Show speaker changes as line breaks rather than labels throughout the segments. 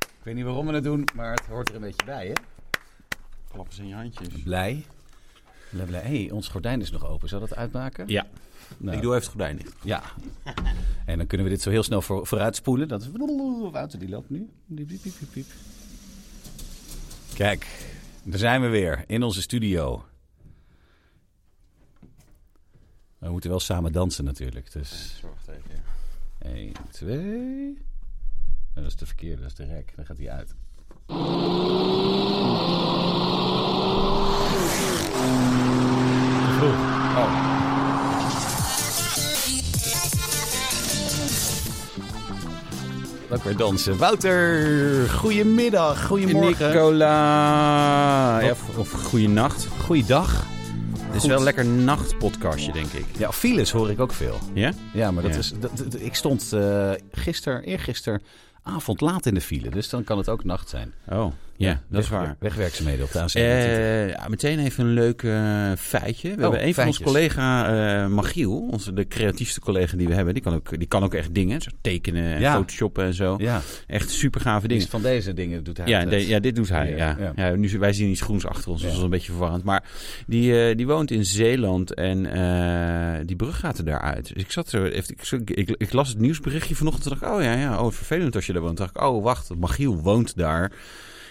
Ik weet niet waarom we het doen, maar het hoort er een beetje bij, hè?
Klappen zijn je handjes.
Blij. Blij, blij. hey, ons gordijn is nog open. Zou dat uitmaken?
Ja,
Nou,
ik doe even het gordijn dicht.
Ja. En dan kunnen we dit zo heel snel voor, vooruit spoelen. Dat is... Wouter, die loopt nu. Diep, diep, diep, diep, diep. Kijk, daar zijn we weer in onze studio. We moeten wel samen dansen natuurlijk. Dus
Zorg even. ja.
1, 2. Dat is de verkeerde, dat is de rek. Dan gaat hij uit. Oh. Leuk weer dansen. Wouter, goedemiddag, goedemorgen.
Nicola. Ja, of, of goeienacht.
Goeiedag.
Het is
Goed.
wel een lekker nachtpodcastje, denk ik.
Ja, files hoor ik ook veel.
Ja?
Ja, maar dat
Ja.
is, dat, dat- ik stond eh gisteren, eergisteravond laat in de file. Dus dan kan het ook nacht zijn.
Oh, ja, dat is
Weg-
waar.
Wegwerkzaamheden op de AC.
Eh, ja, meteen even een leuk eh, feitje. We hebben een van onze
feitjes.
collega, eh, Magiel, onze, de creatiefste collega die we hebben. Die kan ook, die kan ook echt dingen, zo tekenen, en
Ja.
photoshoppen en zo.
ja,
Echt super gave
dingen.
dingen.
van deze dingen doet hij.
Ja,
het.
de- ja, dit doet hij.
eh, Ja,
Ja.
ja.
Ja. nu, zien- wij zien iets groens achter ons, dus
Ja.
dat is een beetje verwarrend. Maar die, eh, die woont in Zeeland en eh, die brug gaat er daaruit. Dus ik zat er, even- ik, ik, ik, ik las het nieuwsberichtje vanochtend en dacht ik, oh ja, ja, oh, vervelend als je daar woont. Toen dacht ik, oh wacht, Magiel woont daar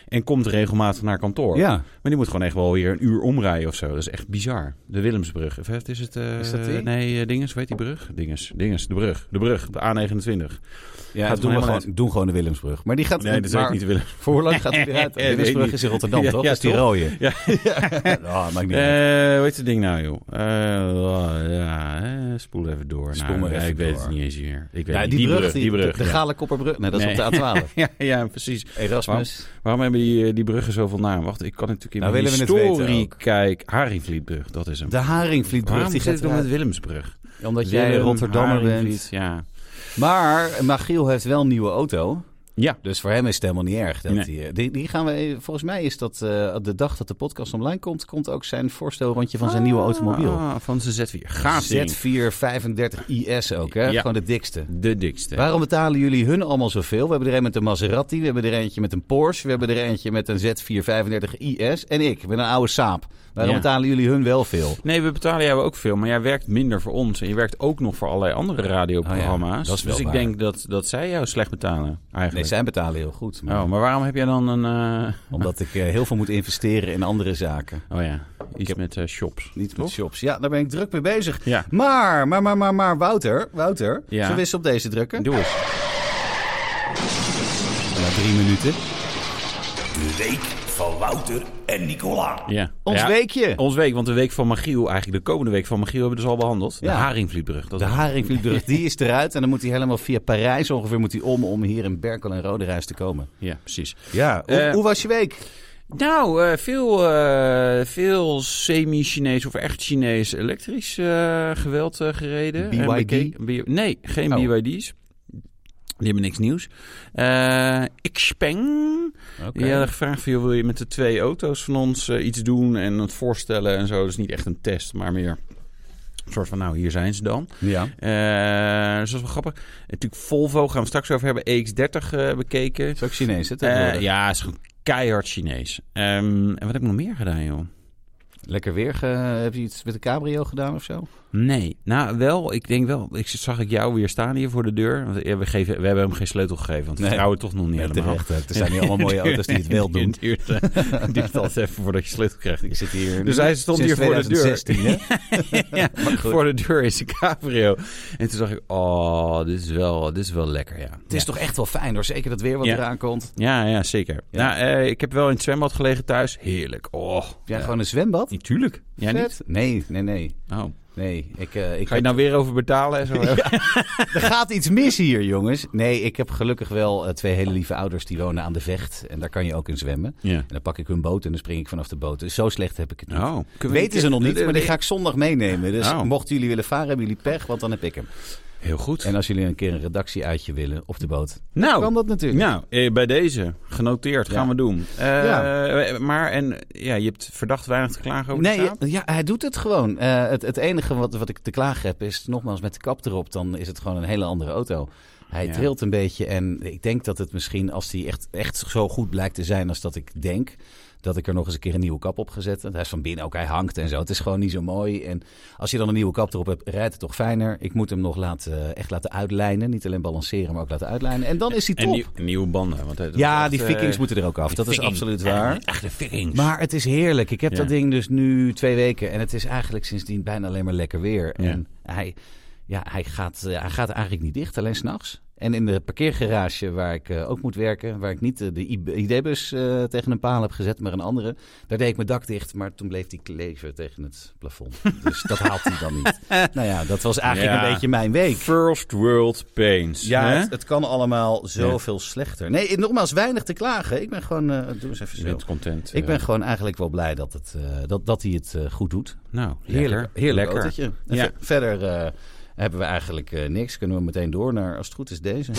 en komt regelmatig naar kantoor.
ja.
Maar die moet gewoon echt wel weer een uur omrijden of zo. Dat is echt bizar. De Willemsbrug. Of is het... eh,
Is dat die?
Nee, eh, Dinges, weet die brug? Dinges, Dinges, de brug. De brug, de A29.
ja
Gaat
doen, we
helemaal
gewoon, doen gewoon de Willemsbrug. Maar die gaat.
Nee, dat is ook
maar
niet de Willem.
Voor hoe lang gaat hij eruit? De
Weet
Willemsbrug
niet.
is in Rotterdam,
Ja,
toch?
ja,
dat is die
toch?
rode.
Ja,
Oh, maakt niet uit.
Eh, hoe heet het ding nou, joh? Eh, oh, ja, eh, spoel even door.
Spoel
Nou,
maar
ja,
even
ik weet
door.
het niet eens meer. Ik weet
Ja,
niet. Die, brug, die brug.
De, de
ja.
Gale Kopperbru- Nee, dat is
Nee.
op de A12.
ja, ja, precies.
Erasmus.
Waarom hebben die, eh, die bruggen zoveel naam? Wacht, ik kan natuurlijk in
Nou,
mijn
willen we het weten
historie
ook.
kijken. Harryvlietbrug, dat is hem.
De Haringvlietbrug.
Waarom
Die
zit ik
gaat
dan met
eruit.
Willemsbrug?
Omdat jij
Willem,
Rotterdammer
Haringvliet,
bent.
Ja.
Maar Magiel heeft wel een nieuwe auto.
ja,
Dus voor hem is het helemaal niet erg. Dat
Nee.
die, eh, die, die gaan we, volgens mij is dat eh, de dag dat de podcast online komt, komt ook zijn voorstelrondje van zijn nieuwe automobiel.
Ah, van zijn Z4. Gaat ding.
Z435IS ook, hè?
Ja.
Gewoon de dikste.
De dikste.
Waarom betalen jullie hun allemaal zoveel? We hebben er een met een Maserati, we hebben er eentje met een Porsche, we hebben er eentje met een Z435IS en ik met een oude Saab. Waarom
Ja.
betalen jullie hun wel veel?
Nee, we betalen jou ook veel, maar jij werkt minder voor ons. En je werkt ook nog voor allerlei andere radioprogramma's.
Oh ja, dat is wel
dus ik
waar.
denk dat, dat zij jou slecht betalen,
Nee,
eigenlijk.
zij betalen heel goed. Maar
Oh, maar waarom heb jij dan een... eh,
Omdat ik eh, heel veel moet investeren in andere zaken.
Oh ja, iets met eh, shops.
Niet met
Toch?
shops. Ja, daar ben ik druk mee bezig.
Ja.
Maar, maar, maar, maar, maar, Wouter, Wouter,
Ja.
zullen we eens op deze drukken?
Doe eens.
Na drie minuten.
De week van Wouter en Nicola.
Ja.
Ons
Ja,
weekje.
Ons week, want de week van Magiel, eigenlijk de komende week van Magiel hebben we dus al behandeld.
Ja.
De Haringvlietbrug. Dat
De Haringvlietbrug, die is eruit. En dan moet hij helemaal via Parijs ongeveer moet hij om, om hier in Berkel en Roderijs te komen.
Ja, precies.
Ja, hoe,
Eh,
hoe was je week?
Nou, eh, veel, eh, veel semi-Chinees of echt Chinees elektrisch eh, geweld eh, gereden.
BYD?
En bekeken- B- nee, geen
Oh.
BYD's. Die hebben niks nieuws. Eh Xpeng. Die hadden gevraagd van, joh, wil je met de twee auto's van ons eh, iets doen en het voorstellen en zo. Dus niet echt een test, maar meer een soort van, nou, hier zijn ze dan.
Ja.
Eh dus dat is wel grappig. Natuurlijk Volvo, gaan we straks over hebben. EX30 eh, bekeken.
Is ook Chinees, hè?
Eh,
tegenwoordig?
ja, is gewoon keihard Chinees. Ehm, en wat heb ik nog meer gedaan, joh?
Lekker weer. ge- heb je iets met de cabrio gedaan of zo?
Nee, nou wel, ik denk wel. Ik zag ik jou weer staan hier voor de deur. Want ja, we, geven, we hebben hem geen sleutel gegeven, want we
Nee.
vertrouwen toch nog niet
Ja,
helemaal.
terecht. Oh, ook. Er zijn nu allemaal mooie auto's die het wel doen.
Het duurt, eh, het duurt altijd even voordat je sleutel krijgt.
Ik zit hier
Dus hij stond
sinds
hier voor de deur.
2016, hè?
Ja,
Maar goed.
voor de deur is een cabrio. En toen zag ik, oh, dit is wel, dit is wel lekker, ja.
Het is toch echt wel fijn hoor. Zeker dat weer wat
Ja.
eraan komt.
Ja, ja, zeker.
Ja.
Nou, eh, ik heb wel in het zwembad gelegen thuis. Heerlijk. Oh,
Heb jij gewoon een zwembad?
natuurlijk. Jij niet?
Vet. Nee, nee, nee.
Oh.
Nee, ik, eh, ik
Ga je nou weer over betalen en zo?
er gaat iets mis hier, jongens. Nee, ik heb gelukkig wel eh, twee hele lieve ouders die wonen aan de Vecht. En daar kan je ook in zwemmen.
ja.
En dan pak ik hun boot en dan spring ik vanaf de boot. Dus zo slecht heb ik het niet.
Oh,
Weten ze nog niet, maar die ga ik zondag meenemen. Dus
eh, Oh.
mochten jullie willen varen, hebben jullie pech, want dan heb ik hem.
Heel goed.
En als jullie een keer een redactieuitje willen op de boot, kan
nou,
dat natuurlijk.
nou, eh, bij deze. Genoteerd.
Ja.
Gaan we doen. Eh,
Ja.
eh, Maar, en ja, je hebt verdacht weinig te klagen over
Nee, eh,
de Saab.
ja, hij doet het gewoon. Eh, het, het enige wat, wat ik te klagen heb is, nogmaals, met de kap erop, dan is het gewoon een hele andere auto. Hij
Ja.
trilt een beetje en ik denk dat het misschien, als hij echt, echt zo goed blijkt te zijn als dat ik denk, dat ik er nog eens een keer een nieuwe kap op ga zetten. Hij is van binnen ook, hij hangt en zo. Het is gewoon niet zo mooi. En als je dan een nieuwe kap erop hebt, rijdt het toch fijner. Ik moet hem nog laten, echt laten uitlijnen. Niet alleen balanceren, maar ook laten uitlijnen. En dan is hij top.
En nieuw- nieuwe banden. Want het-
ja,
echt,
die
eh,
vikings moeten er ook af.
die
Dat is
Viking.
absoluut waar.
Eh, Echte vikings.
Maar het is heerlijk. Ik heb
Ja.
dat ding dus nu twee weken. En het is eigenlijk sindsdien bijna alleen maar lekker weer.
Ja.
En hij, ja, hij, gaat, eh, hij gaat eigenlijk niet dicht, alleen s'nachts. En in de parkeergarage waar ik eh, ook moet werken, waar ik niet eh, de I- ID-bus eh, tegen een paal heb gezet, maar een andere. Daar deed ik mijn dak dicht, maar toen bleef die kleven tegen het plafond. Dus dat haalt hij dan niet. Nou ja, dat was eigenlijk
Ja.
een beetje mijn week.
First world pains.
Ja,
hè?
het, het kan allemaal zoveel slechter. Nee, nogmaals, weinig te klagen. Ik ben gewoon... eh, doe eens even
Je
zo.
bent content.
Ik
eh,
ben gewoon eigenlijk wel blij dat, het, eh, dat, dat hij het eh, goed doet.
nou,
Heerlijk,
lekker.
heerlijk
Lekker.
autootje. En
Ja.
ver- Verder eh, hebben we eigenlijk eh, niks. Kunnen we meteen door naar, als het goed is, deze.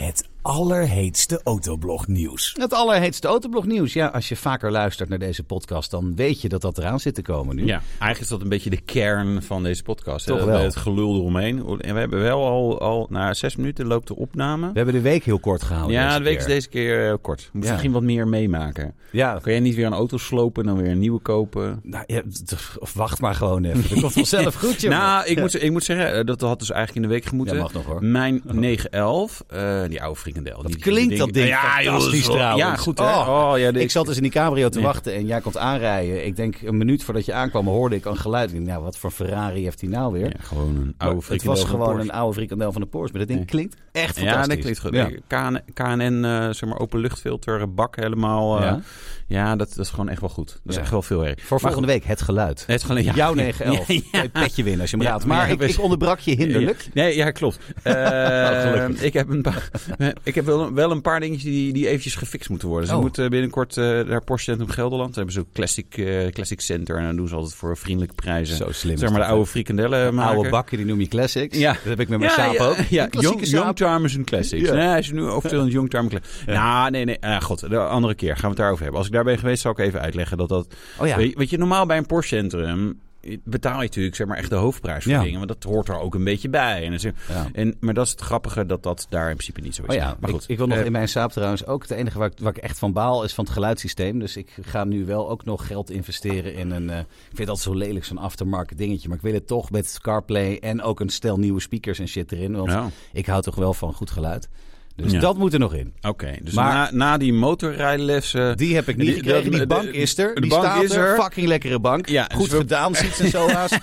Het allerheetste autoblognieuws.
Het allerheetste autoblognieuws. Ja, als je vaker luistert naar deze podcast, dan weet je dat dat eraan zit te komen nu.
Ja, eigenlijk is dat een beetje de kern van deze podcast. hè?
Toch
Dat-
wel.
Het gelul eromheen. En we hebben wel al, al na zes minuten loopt de opname.
We hebben de week heel kort gehouden.
ja,
deze
de week
keer.
is deze keer eh, kort. We moeten
Ja.
misschien wat meer meemaken.
Ja,
Kan jij niet weer een auto slopen en dan weer een nieuwe kopen?
nou, ja, t- of wacht maar gewoon even. Dat komt vanzelf goed, jongen.
Nou, ik, moet, ik moet zeggen, eh, dat had dus eigenlijk in de week gemoeten.
Ja, mag nog, hoor.
Mijn 911, eh, die oude frikandel. Dat
Klinkt dat ding
ja, joh,
fantastisch
zo-
trouwens.
Ja, goed hè. Oh, ja, de-
ik zat dus in die cabrio te
Ja.
wachten en jij komt aanrijden. Ik denk een minuut voordat je aankwam hoorde ik een geluid. Ik denk, nou, wat voor Ferrari heeft hij nou weer?
Ja, gewoon een
Maar
oude
het
frikandel.
was
van
gewoon
Porsche.
een oude frikandel van de Porsche. Maar dat ding
Ja.
klinkt echt
Ja,
fantastisch.
dat klinkt goed.
Ja.
KN, KNN, eh zeg maar, openluchtfilter, bak helemaal. eh,
Ja.
ja, dat, dat is gewoon echt wel goed. Dat is
Ja.
echt wel veel werk.
Voor volgende week het geluid.
Het is gewoon, ja.
Jouw 911.
Ja,
Kan je petje winnen als je hem
Ja,
raadt. Maar
ja,
ik,
best-
ik onderbrak je hinderlijk.
Ja, nee, ja, klopt. Eh,
Oh, gelukkig.
ik heb, een paar, ik heb wel, wel een paar dingetjes die, die eventjes gefixt moeten worden. Ze
Oh.
moeten binnenkort eh naar Porsche Centrum Gelderland. Daar hebben ze ook Classic, eh, classic Center. En dan doen ze altijd voor vriendelijke prijzen.
Zo slim is
Zeg maar de
dat,
oude frikandellen
hè?
maken.
Oude bakken, die noem je classics.
Ja.
Dat heb ik met mijn saap
ja,
ook.
Ja,
Een klassieke
Young,
saap.
Youngtimers en Classics.
Ja.
Nee, hij is nu officieel een Youngtimer Classic. Nou, nee, nee. Ah, god, de andere keer gaan we het daarover hebben. Als ik daar ben geweest, zal ik even uitleggen dat dat...
Oh ja.
Weet, je- weet je, normaal bij een Porsche Centrum betaal je natuurlijk zeg maar echt de hoofdprijs voor
Ja.
dingen. Want dat hoort er ook een beetje bij. En, dat is-
Ja.
en, maar dat is het grappige dat dat daar in principe niet zo is.
Oh ja,
maar goed.
Ik, ik wil nog
Eh,
in mijn saap trouwens ook. Het enige waar ik, waar ik echt van baal is van het geluidssysteem. Dus ik ga nu wel ook nog geld investeren in een. eh, ik vind dat zo lelijk, zo'n aftermarket dingetje. Maar ik wil het toch met CarPlay en ook een stel nieuwe speakers en shit erin. Want
Ja.
ik hou toch wel van goed geluid. Dus
Ja.
dat moet er nog in.
Oké, dus
Maar-
na, na die motorrijlessen...
Die heb ik niet
Die-
gekregen.
de-
Die
de-
bank is er.
de
Die
bank
staat
is
er.
er.
Fucking lekkere bank.
Ja,
Goed
dus we-
gedaan, ziet en soa's.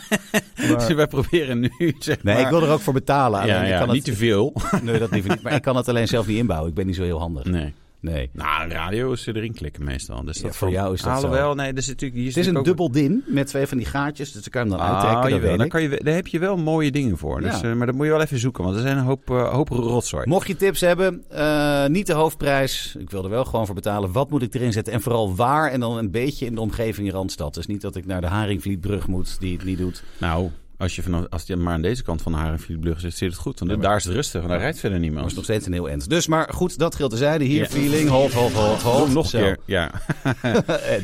Dus wij proberen nu, zeg
Nee,
maar...
ik wil er ook voor betalen.
ja,
Alleen ik
ja,
kan
niet te
het,
veel.
nee, dat liever niet. Maar ik kan het alleen zelf niet inbouwen. Ik ben niet zo heel handig.
Nee.
Nee.
Nou, radio is erin klikken meestal. Dus dat
Ja, voor jou is dat zo.
Alhoewel, nee, er zit natuurlijk, hier
Het is
zit
een
ook-
dubbel din met twee van die gaatjes. Dus ik kan je hem dan
Ah,
uittrekken. Dat
jawel,
weet
daar,
ik.
kan je, wel- daar heb je wel mooie dingen voor. Dus,
Ja.
eh, maar dat moet je wel even zoeken, want er zijn een hoop, eh, hoop rotzooi.
Mocht je tips hebben, eh, niet de hoofdprijs. Ik wil er wel gewoon voor betalen. Wat moet ik erin zetten? En vooral waar en dan een beetje in de omgeving Randstad. Dus niet dat ik naar de Haringvlietbrug moet, die het niet doet.
Nou, als je, vanaf, als je maar aan deze kant van de Harenvlietbrug zit, zit het goed. Want daar is het rustig, want daar rijdt verder
Maar is
niemand.
nog steeds een heel end. Dus maar goed, dat geldt terzijde. Hier,
Ja.
feeling. Hold, hold, hold, hold.
Oh, nog
Zo.
een keer. Ja.
Eh,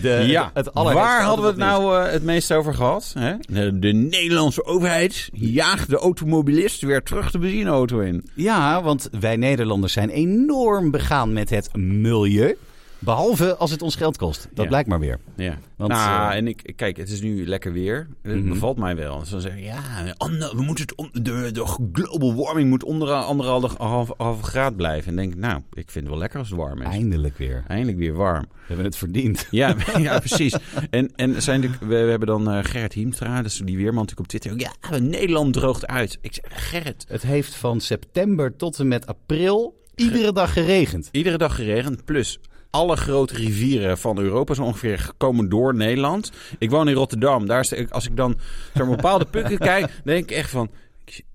de-
ja.
het- het allerheetste
Waar hadden we het
autoblognieuws.
nou eh, het meest over gehad? Hè? De, de Nederlandse overheid jaagt de automobilist weer terug de benzineauto in.
Ja, want wij Nederlanders zijn enorm begaan met het milieu. Behalve als het ons geld kost. Dat
Ja.
blijkt maar weer.
Ja.
Want,
nou,
eh, Mhm.
en ik, kijk, het is nu lekker weer. Het bevalt mij wel. Dus dan zeggen ja, ander- we moeten het on- de, de global warming moet onder anderhalf half, half graad blijven. En denk, ik, nou, ik vind het wel lekker als het warm is.
Eindelijk weer.
Eindelijk weer warm.
We hebben het verdiend.
Ja, ja precies. En, en zijn de, we, we hebben dan eh, Gerrit Hiemstra, dus die weerman natuurlijk op Twitter. Ja, Nederland droogt uit. Ik zeg, Gerrit,
Het heeft van september tot en met april iedere dag geregend.
Iedere dag geregend, plus alle grote rivieren van Europa zo ongeveer komen door Nederland. Ik woon in Rotterdam. Daar is de- als ik dan naar bepaalde pukken kijk, dan denk ik echt van...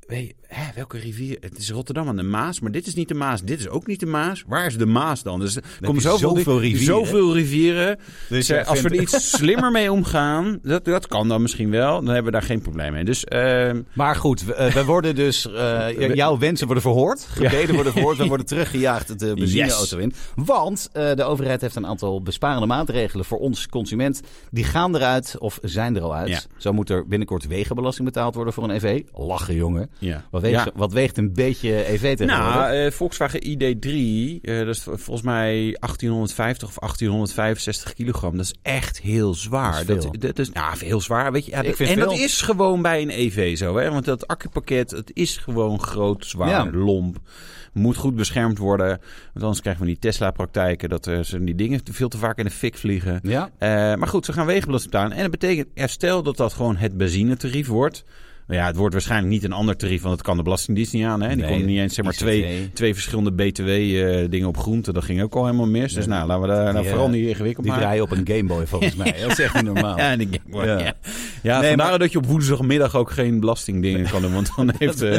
weet, hè, welke rivier? Het is Rotterdam aan de Maas, maar dit is niet de Maas. Dit is ook niet de Maas. Waar is de Maas dan? Dus er komen
je
zoveel,
zoveel
di-
rivieren.
Zoveel rivieren.
Dus
Ze-
jij
als we er
vindt-
iets slimmer mee omgaan, dat, dat kan dan misschien wel. Dan hebben we daar geen probleem mee. Dus ehm,
Maar goed, we, eh, we worden dus... eh, j- jouw wensen worden verhoord. Gebeden worden verhoord. We worden teruggejaagd de benzineauto in. Want eh, de overheid heeft een aantal besparende maatregelen voor ons consument. Die gaan eruit of zijn er al uit.
Ja.
Zo moet er binnenkort wegenbelasting betaald worden voor een EV. Lachen, jongen.
ja.
Wat weegt,
Ja.
wat weegt een beetje EV tegenwoordig?
Nou, eh, Volkswagen ID3, eh, dat is vol- volgens mij 1850 of 1865 kilogram. Dat is echt heel
Dat is
zwaar.
veel.
Dat dat is, ja, heel zwaar. Weet je, ja,
Ik
dat-
vind
en dat
veel.
is gewoon bij een EV zo. Hè? Want dat accupakket, het is gewoon groot, zwaar,
Ja.
lomp. Moet goed beschermd worden. Want anders krijgen we die Tesla-praktijken. Dat eh, ze die dingen te- veel te vaak in de fik vliegen.
ja?
Eh, maar goed, ze gaan wegenbelasting betalen. En dat betekent, ja, stel dat dat gewoon het benzinetarief wordt. Nou ja, het wordt waarschijnlijk niet een ander tarief, want dat kan de Belastingdienst niet aan. Hè? Die
Nee,
kon niet eens zeg maar,
ICT.
twee, twee verschillende BTW-dingen eh, op groente. Dat ging ook al helemaal mis. Dus nou, laten we daar nou
Die,
vooral
eh,
niet ingewikkeld
Die
maken.
draaien op een Gameboy volgens mij. Dat is echt niet normaal.
Ja, en ik denk,
Ja.
ja. ja. vandaar dat je op woensdagmiddag ook geen belastingdingen kan doen. Want dan heeft eh,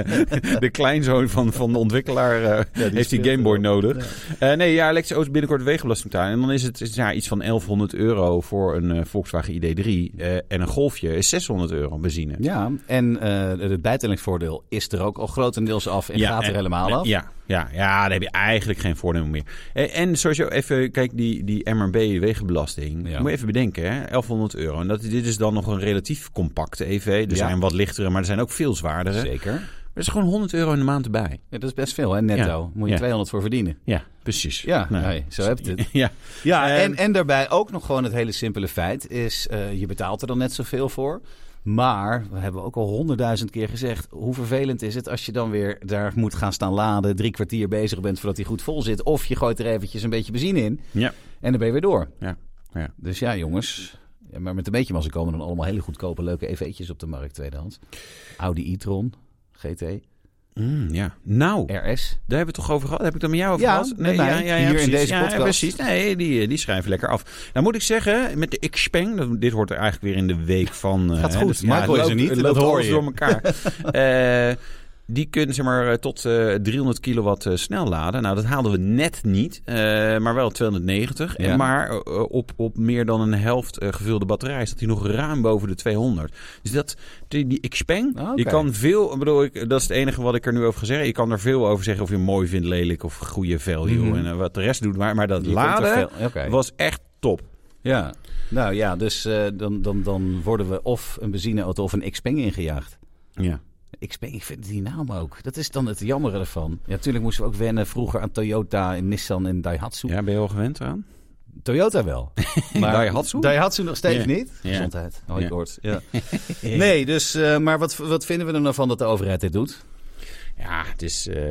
de kleinzoon van, van de ontwikkelaar eh, heeft die
speelt
Gameboy
erop.
nodig. Eh, nee, ja, Lex Oost binnenkort wegenbelasting betalen. En dan is het is, ja, iets van 1100 euro voor een eh, Volkswagen ID3. eh, en een Golfje is 600 euro benzine.
Ja, en eh het bijtellingsvoordeel is er ook al grotendeels af en gaat er
en-
helemaal af.
Ja, ja, ja, daar heb je eigenlijk geen voordeel meer. En, en sowieso even, kijk, die, die MRB wegenbelasting.
Ja.
Moet je even bedenken, hè? 1100 euro. En dat, dit is dan nog een relatief compacte EV. Er
Ja.
zijn wat lichtere, maar er zijn ook veel zwaardere. Er
Zeker.
is gewoon 100 euro in de maand erbij.
Ja, dat is best veel, hè, netto.
Ja.
Moet je
Ja.
200 voor verdienen.
Ja, precies.
Ja,
Nou,
nee, zo heb je het.
ja.
Ja,
Ehm,
en, en daarbij ook nog gewoon het hele simpele feit is, eh, je betaalt er dan net zoveel voor. Maar, we hebben ook al honderdduizend keer gezegd, hoe vervelend is het als je dan weer daar moet gaan staan laden, drie kwartier bezig bent voordat hij goed vol zit. Of je gooit er eventjes een beetje benzine in
ja.
en dan ben je weer door.
Ja, ja.
Dus ja, jongens. Ja, maar met een beetje mazzel komen dan allemaal hele goedkope, leuke EV'tjes op de markt tweedehands. Audi e-tron, GT,
Mm, ja. Nou,
RS.
Daar hebben we het toch over gehad? Heb ik dat met jou over
Ja,
gehad?
met mij.
ja, ja, ja,
Hier in
precies.
deze
Ja,
podcast.
Ja, precies. Nee, die, eh, die schrijven lekker af. Nou moet ik zeggen, met de Xpeng, dat, dit hoort er eigenlijk weer in de week van... eh,
Gaat goed.
dus,
Michael
het
is er
loopt-
niet,
het
dat
loopt
hoor
alles
je.
door elkaar. Eh, die kunnen zeg maar eh, tot eh, 300 kilowatt eh, snel laden. Nou, dat haalden we net niet, eh, maar wel 290.
Ja.
En maar eh, op, op meer dan een helft eh, gevulde batterij staat hij nog ruim boven de 200. Dus dat, die, die Xpeng,
Ah, oké.
je kan veel, ik bedoel, ik, dat is het enige wat ik er nu over ga zeggen. Je kan er veel over zeggen of je hem mooi vindt, lelijk of goede value
Mhm.
en eh, wat de rest doet. Maar, maar dat
Je komt
laden
er veel- oké.
was echt top.
Ja. Nou ja, dus eh, dan, dan, dan worden we of een benzineauto of een Xpeng ingejaagd.
Ja.
Xpeng, ik vind die naam ook. Dat is dan het jammere ervan. Ja, natuurlijk moesten we ook wennen vroeger aan Toyota en Nissan en Daihatsu.
ja, ben je al gewend aan?
Toyota wel.
Daihatsu?
Daihatsu nog steeds
Ja.
niet.
Ja.
Gezondheid. Oh,
Ja.
ik hoort. Ja. Nee, dus, eh, maar wat, wat vinden we er nou van dat de overheid dit doet?
Ja, het is eh,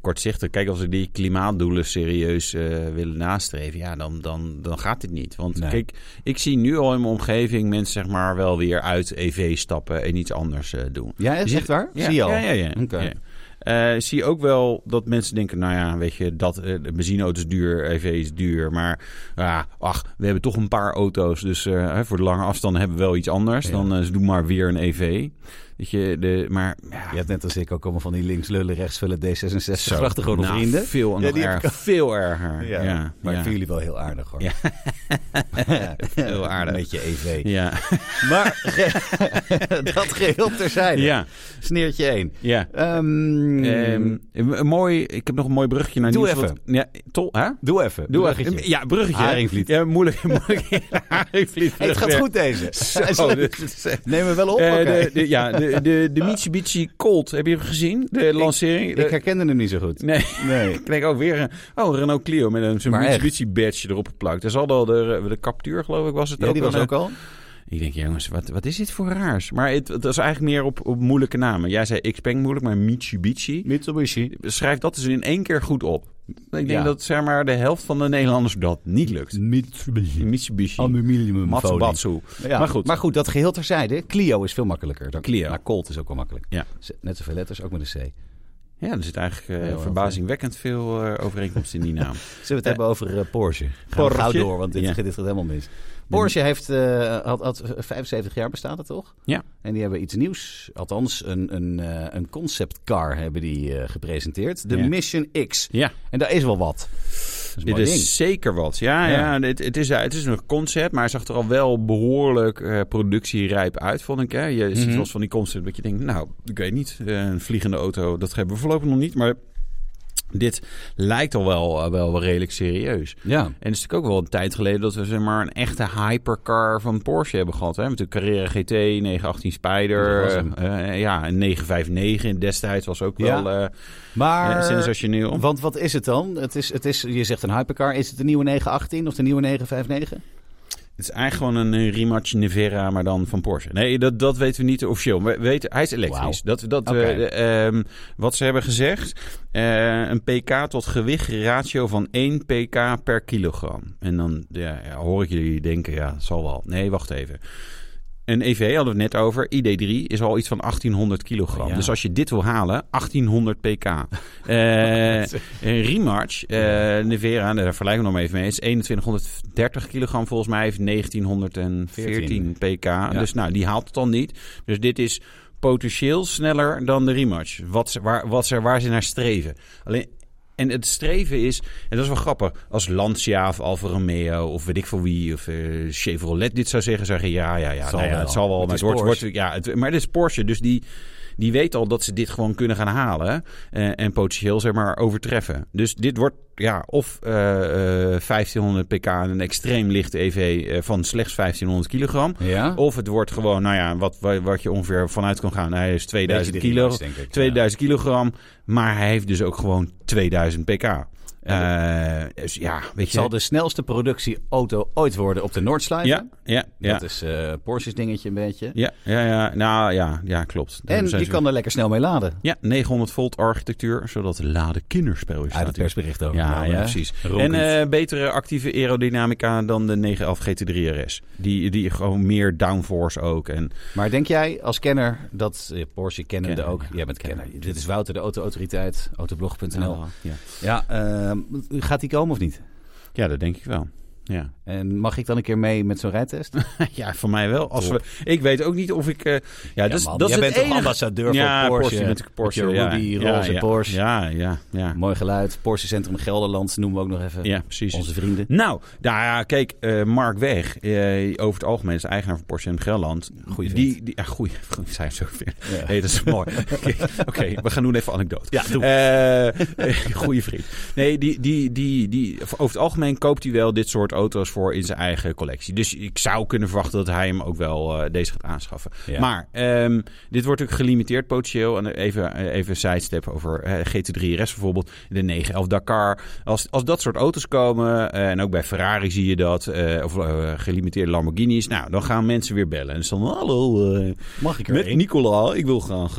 kortzichtig. Kijk, als we die klimaatdoelen serieus eh, willen nastreven, ja, dan, dan, dan gaat dit niet. Want
Nee.
kijk, ik zie nu al in mijn omgeving mensen zeg maar wel weer uit EV stappen en iets anders eh, doen.
Ja,
Je
is
ziet-
echt waar?
Ja,
Zie je al?
Ja, ja, ja.
Oké.
Ja. Eh, zie je ook wel dat mensen denken, nou ja, weet je, dat, eh, de benzineauto is duur, EV is duur. Maar ja, ach, we hebben toch een paar auto's. Dus eh, hè, voor de lange afstanden hebben we wel iets anders.
Ja.
Dan eh, ze doen maar weer een EV. Weet je, de, maar ja,
Je hebt net als ik ook allemaal van die links lullen, rechts vullen D66 achtergrond
nou,
vrienden.
Veel,
Ja,
nog
die heb
erg, veel erger.
Ja,
Ja, ja,
maar ik
ja.
vind jullie wel heel aardig hoor.
Ja. Heel aardig.
Met je EV.
Ja,
Maar ge- dat geheel terzijde.
ja.
Sneertje 1.
ja. Ehm, een mooi, ik heb nog een mooi brugje naar
Doe
nieuws.
even.
wat- ja, tol, hè?
doe even.
Doe
bruggetje.
even. Ja, bruggetje.
Haringvliet.
Ja, moeilijk. moeilijk. Haringvliet.
Hey, het gaat goed deze. Hij is
Zo,
leuk.
dit is echt-
Neem hem wel op.
Eh,
oké.
de, de- ja, de, de, de Mitsubishi Colt, heb je hem gezien? De lancering? De-
ik herkende hem niet zo goed.
nee,
Nee.
ik denk ook weer een oh, een Renault Clio met een zo'n
Maar echt.
Mitsubishi badge erop geplakt. Dat is al de, de captuur, geloof ik, was het
Ja,
ook.
die was
een-
ook al.
Ik denk, jongens, wat, wat is dit voor raars? Maar het, het was eigenlijk meer op, op moeilijke namen. Jij zei Xpeng moeilijk, maar Mitsubishi.
Mitsubishi.
Schrijf dat dus in één keer goed op. Ik denk
Ja.
dat zeg maar, de helft van de Nederlanders dat niet lukt.
Mitsubishi.
Mitsubishi.
Aluminium.
Matsubatsu.
Ja,
Maar goed.
maar goed, dat geheel terzijde. Clio is veel makkelijker. Dan,
Clio.
Maar Colt is ook wel makkelijk.
Ja.
Z- Net zoveel letters, ook met een C. Zullen
Ja, er zit eigenlijk eh,
Ja, wel.
verbazingwekkend veel eh overeenkomst in die naam.
we het hebben over eh, Porsche? Gaan we
Porsche?
gauw door, want dit,
Ja.
dit gaat helemaal mis. Porsche heeft, eh, had, had 75 jaar bestaat het toch?
Ja.
En die hebben iets nieuws. Althans, een, een, eh, een conceptcar hebben die eh, gepresenteerd. De
Ja.
Mission X.
Ja,
En daar is wel wat. Dat is een
dit
mooi
is
ding.
zeker wat. Ja,
Ja.
ja. dit- het, is, eh, het is een concept, maar hij zag er al wel behoorlijk eh, productierijp uit, vond ik. Hè? Je ziet
Mhm.
wel eens van die concept dat je denkt, nou, ik weet niet, eh, een vliegende auto, dat hebben we voorlopig nog niet. Maar dit lijkt al wel, eh, wel redelijk serieus.
Ja.
En het is natuurlijk ook wel een tijd geleden dat we zeg maar, een echte hypercar van Porsche hebben gehad. Hè? Met de Carrera GT, 918
Dat
Spyder,
was hem.
eh, eh, ja, een 959 destijds was ook
Ja.
wel eh
Maar...
eh, sensationeel.
Want wat is het dan? Het is, het is, je zegt een hypercar. Is het de nieuwe 918 of de nieuwe 959?
Het is eigenlijk gewoon een eh, rematch Nevera, maar dan van Porsche. Nee, dat, dat weten we niet officieel. We weten, hij is elektrisch. Dat, dat,
Oké.
eh, ehm, wat ze hebben gezegd, eh, een pk tot gewicht ratio van 1 pk per kilogram. En dan ja, ja, hoor ik jullie denken, ja, dat zal wel. Nee, wacht even. Een EV hadden we het net over. ID3 is al iets van 1800 kilogram.
Ja.
Dus als je dit wil halen, 1800 pk. Eh, een rematch, eh Nevera, daar vergelijken we nog maar even mee. is 2130 kilogram volgens mij. heeft 1914 pk. Dus nou, die haalt het dan niet. Dus dit is potentieel sneller dan de rematch. Wat ze, waar, wat ze, waar ze naar streven. Alleen... En het streven is, en dat is wel grappig, als Lancia of Alfa Romeo of weet ik voor wie, of eh, Chevrolet dit zou zeggen, zeggen ja, ja, ja,
Het
het
zal
zal, Nou ja,
wel.
het zal wel.
Het
maar
is
het wordt,
Porsche.
wordt, ja, het, maar het is Porsche, dus die, die weet al dat ze dit gewoon kunnen gaan halen eh, en potentieel zeg maar overtreffen. Dus dit wordt ja, of eh, eh, 1500 pk en een extreem lichte EV eh, van slechts 1500 kilogram.
Ja.
Of het wordt gewoon, nou ja, wat, wa- wat je ongeveer vanuit kan gaan. Hij is 2000 kilo, 2000 kilogram, maar hij heeft dus ook gewoon 2000 pk. Eh, dus ja, weet
Het
je.
zal de snelste productieauto ooit worden op de Noordslijf.
ja, ja, ja,
Dat is eh, Porsche's dingetje een beetje.
ja, ja, ja, nou ja, ja klopt. Daar
En
zijn
die
ze-
kan er lekker snel mee laden.
Ja, 900 volt architectuur, zodat de laden kinderspel
Uit
is.
het
staat hier.
persbericht ook.
Ja,
Nou,
ja,
hè?
precies.
Ronkend.
En eh, betere actieve aerodynamica dan de 911 GT3 RS. Die, die gewoon meer downforce ook. En
Maar denk jij als kenner dat eh, Porsche kennende
Kenner,
ook?
ja.
Jij bent kenner.
Kenner.
Dit is Wouter de autoautoriteit, autoblog.nl.
Oh, ja.
Ja, ehm, gaat die komen of niet?
ja, dat denk ik wel. Ja.
En mag ik dan een keer mee met zo'n rijtest?
ja, voor mij wel. Als we, ik weet ook niet of ik... eh, ja, dat is,
man,
dat is
jij bent
het
toch
enige-
ambassadeur voor
ja,
Porsche?
Porsche. natuurlijk Porsche
Met je
ja.
Ruby,
ja,
roze
ja,
Porsche.
Ja, ja, ja.
Mooi geluid. Porsche Centrum Gelderland noemen we ook nog even.
Ja, precies.
Onze vrienden.
Nou, nou ja, kijk, eh, Mark Weg, eh, over het algemeen is de eigenaar van Porsche in Gelderland.
Goeie vent.
die, die, ja, goeie, goeie, zijn zo ver.
Ja.
Hey, dat is mooi. Oké, oké, we gaan doen even anekdote.
Ja, doe.
Eh, eh, goeie vriend. Nee, die, die, die, die, over het algemeen koopt hij wel dit soort auto's voor in zijn eigen collectie. Dus ik zou kunnen verwachten dat hij hem ook wel eh, deze gaat aanschaffen.
Ja.
Maar ehm, dit wordt ook gelimiteerd potentieel. En even, eh, even sidestep over eh, GT3 RS bijvoorbeeld. De 911 Dakar. Als, als dat soort auto's komen, eh, en ook bij Ferrari zie je dat, eh, of eh, gelimiteerde Lamborghinis. Nou, dan gaan mensen weer bellen. En ze dan, hallo, eh,
Mag ik er
met
één?
Nicola, ik wil graag.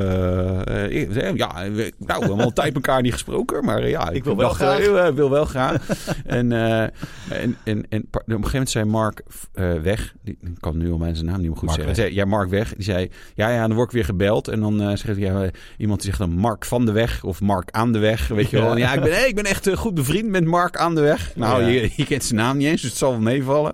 eh, eh, eh, ja, we- nou, we hebben al een tijd elkaar niet gesproken, maar eh, ja,
Ik wil wel graag.
eh, ik wil wel graag. en, eh, en, en, en pa- op een gegeven moment zei Mark eh, weg, die, ik kan nu al mijn zijn naam niet meer goed
Mark
zeggen. Zei, ja, Mark weg. Die zei, ja, ja, dan word ik weer gebeld. En dan eh, schreef hij, ja, eh, iemand die zegt dan Mark van de weg of Mark aan de weg. Weet je wel. Ja, ik ben, hey, ik ben echt eh, goed bevriend met Mark aan de weg. Nou,
Ja.
je, je kent zijn naam niet eens, dus het zal wel meevallen.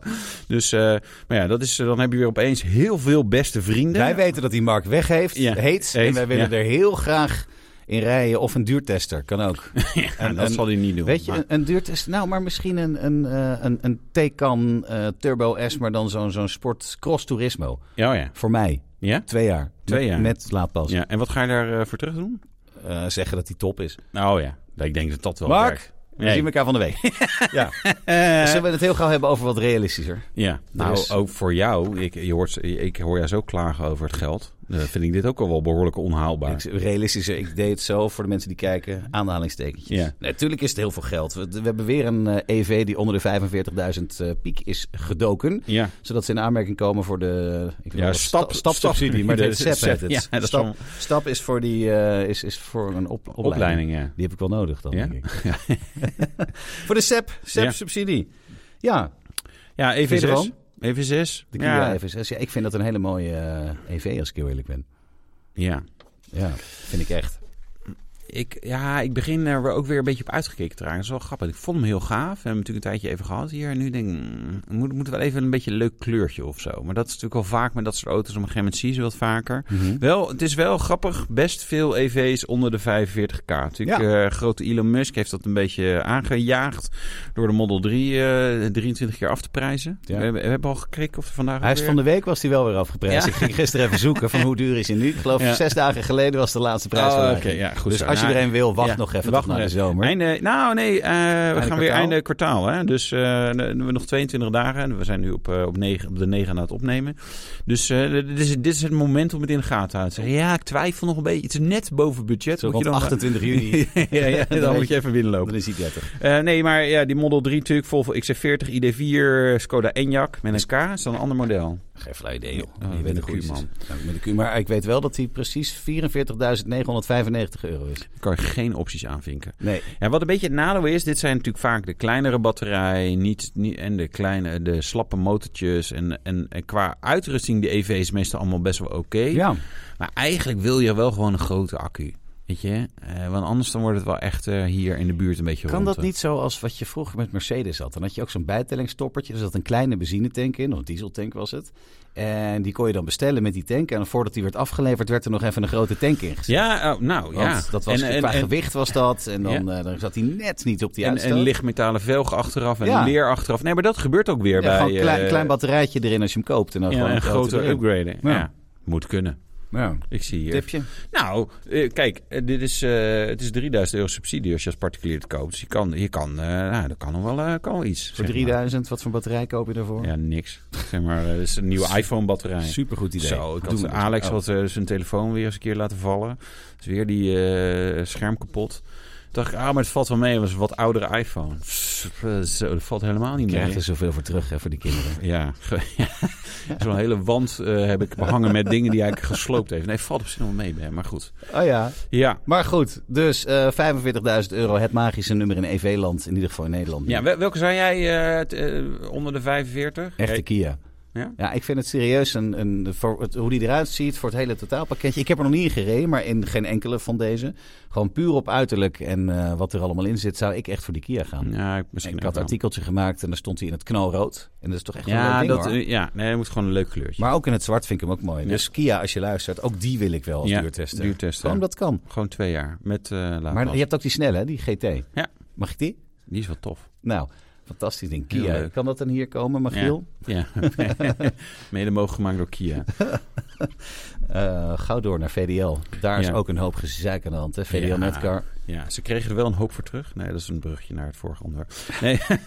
Dus, eh, maar ja, dat is, eh, dan heb je weer opeens heel veel beste vrienden.
Wij weten dat die Mark weg heeft,
Ja.
heet. En
Heet,
wij willen
ja.
er heel graag in rijden. Of een duurtester, kan ook.
en, dat
en-
zal hij niet doen.
Weet je,
Maar-
een, een duurtest. Nou, maar misschien een, een, eh, een, een Taycan eh, Turbo S, maar dan zo'n zo'n sport Cross Turismo.
Ja, oh ja.
Voor mij.
Ja?
Twee jaar.
Twee
Met-
jaar.
Met laadpas.
ja. En wat ga je daar eh, voor terug doen?
Eh, zeggen dat die top is.
Nou ja, ik denk dat dat wel
Mark,
werkt.
we
Nee. Eh.
zien elkaar van de week. ja. Zullen we het heel gauw hebben over wat realistischer?
Ja, nou
is-
ook voor jou. Ik, je hoort, ik hoor jou zo klagen over het geld. Dan vind ik dit ook al wel behoorlijk onhaalbaar.
Ik, realistischer, ik deed het zo voor de mensen die kijken. Aanhalingstekentjes.
Ja.
Natuurlijk is het heel veel geld. We, we hebben weer een eh, EV die onder de 45.000 eh, piek is gedoken.
Ja.
Zodat ze in aanmerking komen voor de ik wil
Ja,
wel
stap-
sta- stapsubsidie.
stap-
Maar
Ja,
de SEP heet het.
ja, dat is
stap,
wel-
stap is voor, die, eh, is, is voor een op, opleiding.
Opleiding, ja.
Die heb ik wel nodig dan,
Ja?
denk ik. voor de E SEP, SEP-subsidie. Ja,
Ja,
Vind je
EV6.
ervan?
EV6.
de Kia
ja.
EV6. Ja, ik vind dat een hele E mooie eh, EV, als ik heel eerlijk ben.
ja.
Ja, vind ik echt.
ik, ja, ik begin er ook weer een beetje op uitgekeken te raken. Dat is wel grappig. Ik vond hem heel gaaf. We hebben hem natuurlijk een tijdje even gehad hier. En nu denk ik, mm, moet, moet wel even een beetje een leuk kleurtje of zo. Maar dat is natuurlijk al vaak met dat soort auto's. Op een gegeven moment zie je ze wat vaker. Wel, het is wel grappig. Best veel EV's onder de 45k. Natuurlijk, eh, grote Elon Musk heeft dat een beetje aangejaagd. Door de Model 3 eh, 23 keer af te prijzen.
Ja.
We, hebben, we hebben al gekeken of er vandaag
Hij
ook
is
weer-
van de week was hij wel weer afgeprijsd.
Ja.
Ik ging gisteren even zoeken van hoe duur is hij nu. Ik geloof
Ja.
zes dagen geleden was de laatste prijs.
Oh, oké, ja, goed
dus
zo.
als je
Nou,
er een wil, wacht
ja,
nog even
wacht
tot naar
nog
de zomer.
Einde, nou nee, eh, we gaan weer
kwartaal?
einde kwartaal. Hè? Dus eh, we we nog 22 dagen. En we zijn nu op, eh, op, negen, op de 9 aan het opnemen. Dus eh, dit, is, dit is het moment om het in de gaten te houden. Zeggen, ja, ik twijfel nog een beetje. Het is net boven budget.
Zo
Moet je
rond
dan
28 juni.
ja, ja,
Dan
dan
weet
moet je even binnenlopen.
Dan is hij 30.
Eh, nee, maar ja, die Model 3 natuurlijk. Volvo XC40, ID4, Skoda Enyaq met een K. is dan een ander model.
Geen flauw idee, joh.
Ja,
je
Oh, met
weet
de
het goed.
Q, man.
Ja, Met de Q, maar ik weet wel dat hij precies 44.995 euro is.
Daar kan je geen opties aanvinken.
Nee.
Ja, wat een beetje het nadeel is, dit zijn natuurlijk vaak de kleinere batterij niet, niet, en de, kleine, de slappe motortjes. En, en, en qua uitrusting, de EV is meestal allemaal best wel oké.
Ja.
Maar eigenlijk wil je wel gewoon een grote accu. Weet je? Eh, want anders dan wordt het wel echt eh, hier in de buurt een beetje
Kan
rond. eh.
dat niet zo als wat je vroeger met Mercedes had? Dan had je ook zo'n bijtellingstoppertje. Er zat een kleine benzinetank in, of een dieseltank was het. En die kon je dan bestellen met die tank. En voordat die werd afgeleverd, werd er nog even een grote tank ingezet.
Ja, oh, nou
Want
ja.
dat was,
En- en-
qua
en-
gewicht was dat. En dan, eh, dan zat hij net niet op die
En,
uitstoot.
en lichtmetalen velg achteraf en
Ja.
leer achteraf. Nee, maar dat gebeurt ook weer
Ja,
bij...
gewoon een klein,
eh,
klein batterijtje erin als je hem koopt. En dan
ja,
gewoon
een
grote
grotere
erin.
upgraden.
Ja.
Ja. moet kunnen.
Ja.
Ik zie hier.
Tipje.
Nou, eh, kijk, eh, dit is, eh, het is 3000 euro subsidie als je als particulier het koopt. Dus je kan, je kan, eh, nou, dat kan nog wel, eh, kan wel iets. zeg
Voor
maar.
3000, wat voor batterij koop je daarvoor?
Ja, niks. Zeg maar, eh, dat is een nieuwe iPhone-batterij.
Supergoed idee.
Zo, ik
Doen
had,
we.
Alex
Oh.
had eh, zijn telefoon weer eens een keer laten vallen. Dus weer die eh, scherm kapot. Toen dacht ik, ah, maar het valt wel mee. Het was een wat oudere iPhone. Pff, eh, Zo, dat valt helemaal niet
Je
mee.
krijgt er zoveel voor terug hè, voor die kinderen.
Ja, zo'n hele wand eh, heb ik behangen met dingen die hij gesloopt heeft. Nee, valt op zich nog wel mee, Ben, maar goed.
Oh ja.
Ja,
Maar goed, dus eh 45.000 euro, het magische nummer in EV-land. In ieder geval in Nederland.
Ja, wel- welke zijn jij eh, t- eh, onder de 45?
Echte
Eh,
Kia.
Ja?
ik vind het serieus een, een, voor het, hoe die eruit ziet, voor het hele totaalpakketje. Ik heb er nog niet in gereden, maar in geen enkele van deze. Gewoon puur op uiterlijk en eh, wat er allemaal in zit, zou ik echt voor die Kia gaan.
Ja, ik, misschien
ik had een
ook wel.
artikeltje gemaakt en dan stond hij in het knalrood. En dat is toch echt een leuk
Ja,
ding,
dat,
hoor.
eh, ja, nee, het moet gewoon een leuk kleurtje.
Maar ook in het zwart vind ik hem ook mooi.
Ja.
Dus Kia, als je luistert, ook die wil ik wel als
Ja,
duurtester.
duurtester.
Gewoon dat kan.
Gewoon twee jaar met eh laadpas.
Maar je hebt ook die snelle, die GT.
Ja.
Mag ik die?
Die is wel tof.
Nou, fantastisch ding.
Heel
Kia,
leuk.
kan dat dan hier komen, Magiel?
Ja. Mede mogelijk gemaakt door Kia.
Eh, gauw door naar VDL. Daar is
Ja.
ook een hoop gezeik aan de hand, hè? VDL
Ja.
Netcar.
Ja, ze kregen er wel een hoop voor terug. Nee, dat is een brugje naar het vorige onderwerp. Nee,
En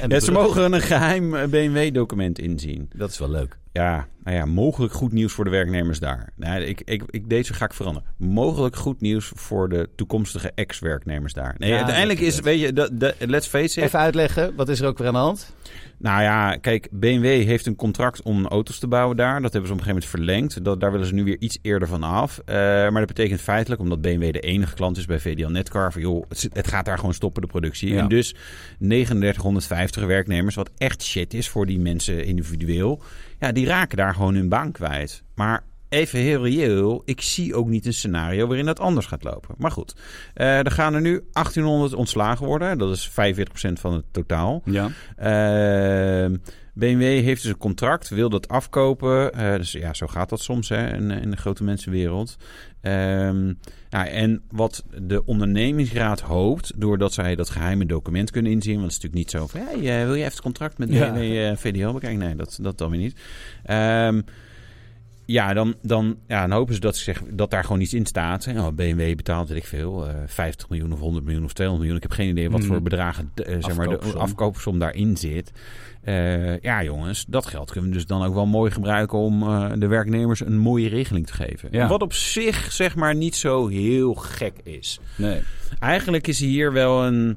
ja,
de brug-
ze mogen een geheim eh, BMW-document inzien.
Dat is wel leuk.
Ja, nou ja, mogelijk goed nieuws voor de werknemers daar. Nou, ik, ik, ik, deze ga ik veranderen. Mogelijk goed nieuws voor de toekomstige ex-werknemers daar. Nee,
Ja,
uiteindelijk is, weet je, dat, dat, let's face it.
Even uitleggen, wat is er ook weer aan de hand?
Nou ja, kijk, BMW heeft een contract om auto's te bouwen daar. Dat hebben ze op een gegeven moment verlengd. Dat, daar willen ze nu weer iets eerder van af. Eh, maar dat betekent feitelijk, omdat BMW de enige klant is bij VDL Netcar... van joh, het, zit- het gaat daar gewoon stoppen, de productie.
Ja.
En dus 3950 werknemers, wat echt shit is voor die mensen individueel... ja, die raken daar gewoon hun baan kwijt. Maar even heel reëel, ik zie ook niet een scenario waarin dat anders gaat lopen. Maar goed, eh, er gaan er nu 1800 ontslagen worden. Dat is 45% van het totaal.
Ja.
Ehm, BMW heeft dus een contract, wil dat afkopen. Eh, dus ja, zo gaat dat soms hè, in, in de grote mensenwereld. Ehm, ja, en wat de ondernemingsraad hoopt, doordat zij dat geheime document kunnen inzien. Want het is natuurlijk niet zo van, hey, eh, wil je even het contract met
Ja.
BMW eh, VDL bekijken? Nee, dat, dat dan weer niet. Ehm, ja, dan, dan, ja, dan hopen ze dat, ze zeggen, dat daar gewoon iets in staat. Hè, Oh, BMW betaalt, weet ik veel, eh, 50 miljoen of 100 miljoen of 200 miljoen. Ik heb geen idee wat
Mm.
voor bedragen eh, zeg maar, de
Afkoopsom.
afkoopsom daarin zit. Eh, ja, jongens, dat geld kunnen we dus dan ook wel mooi gebruiken om eh, de werknemers een mooie regeling te geven.
Ja.
Wat op zich, zeg maar, niet zo heel gek is.
Nee.
Eigenlijk is hier wel een.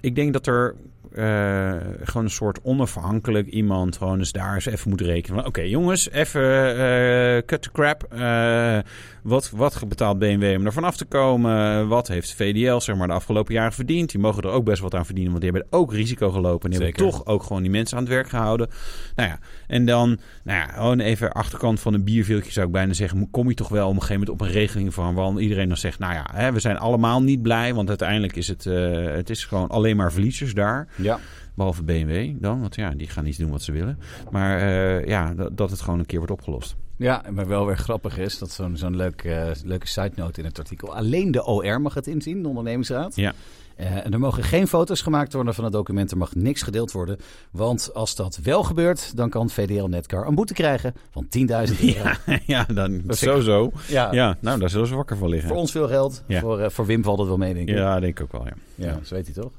Ik denk dat er eh, gewoon een soort onafhankelijk iemand gewoon eens daar eens even moet rekenen. van, Oké, jongens, even eh, cut the crap. Eh, wat, wat betaalt BMW om er vanaf te komen? Wat heeft VDL zeg maar, de afgelopen jaren verdiend? Die mogen er ook best wat aan verdienen, want die hebben ook risico gelopen. En die hebben
Zeker.
toch ook gewoon die mensen aan het werk gehouden. Nou ja, en dan, nou ja, gewoon even achterkant van een bierviltje zou ik bijna zeggen. Kom je toch wel op een gegeven moment op een regeling van waarvan iedereen dan zegt, nou ja, hè, we zijn allemaal niet blij. Want uiteindelijk is het, eh, het is gewoon alleen maar verliezers daar.
Ja.
Behalve BMW dan, want ja, die gaan iets doen wat ze willen. Maar eh, ja, dat, dat het gewoon een keer wordt opgelost.
Ja, maar wel weer grappig is dat zo'n zo'n leuk, eh, leuke side note in het artikel. Alleen de OR mag het inzien, de ondernemingsraad.
Ja.
Eh, en er mogen geen foto's gemaakt worden van het document. Er mag niks gedeeld worden. Want als dat wel gebeurt, dan kan VDL Netcar een boete krijgen van 10.000 euro.
Ja, ja
Dat
dan
vind ik-
zo zo.
Ja,
Ja, nou, daar zullen ze wakker van liggen.
Voor ons veel geld.
Ja.
Voor, eh, voor Wim valt het wel mee, denk ik.
Ja, denk ik ook wel, ja.
Ja,
Ja.
zo weet hij toch?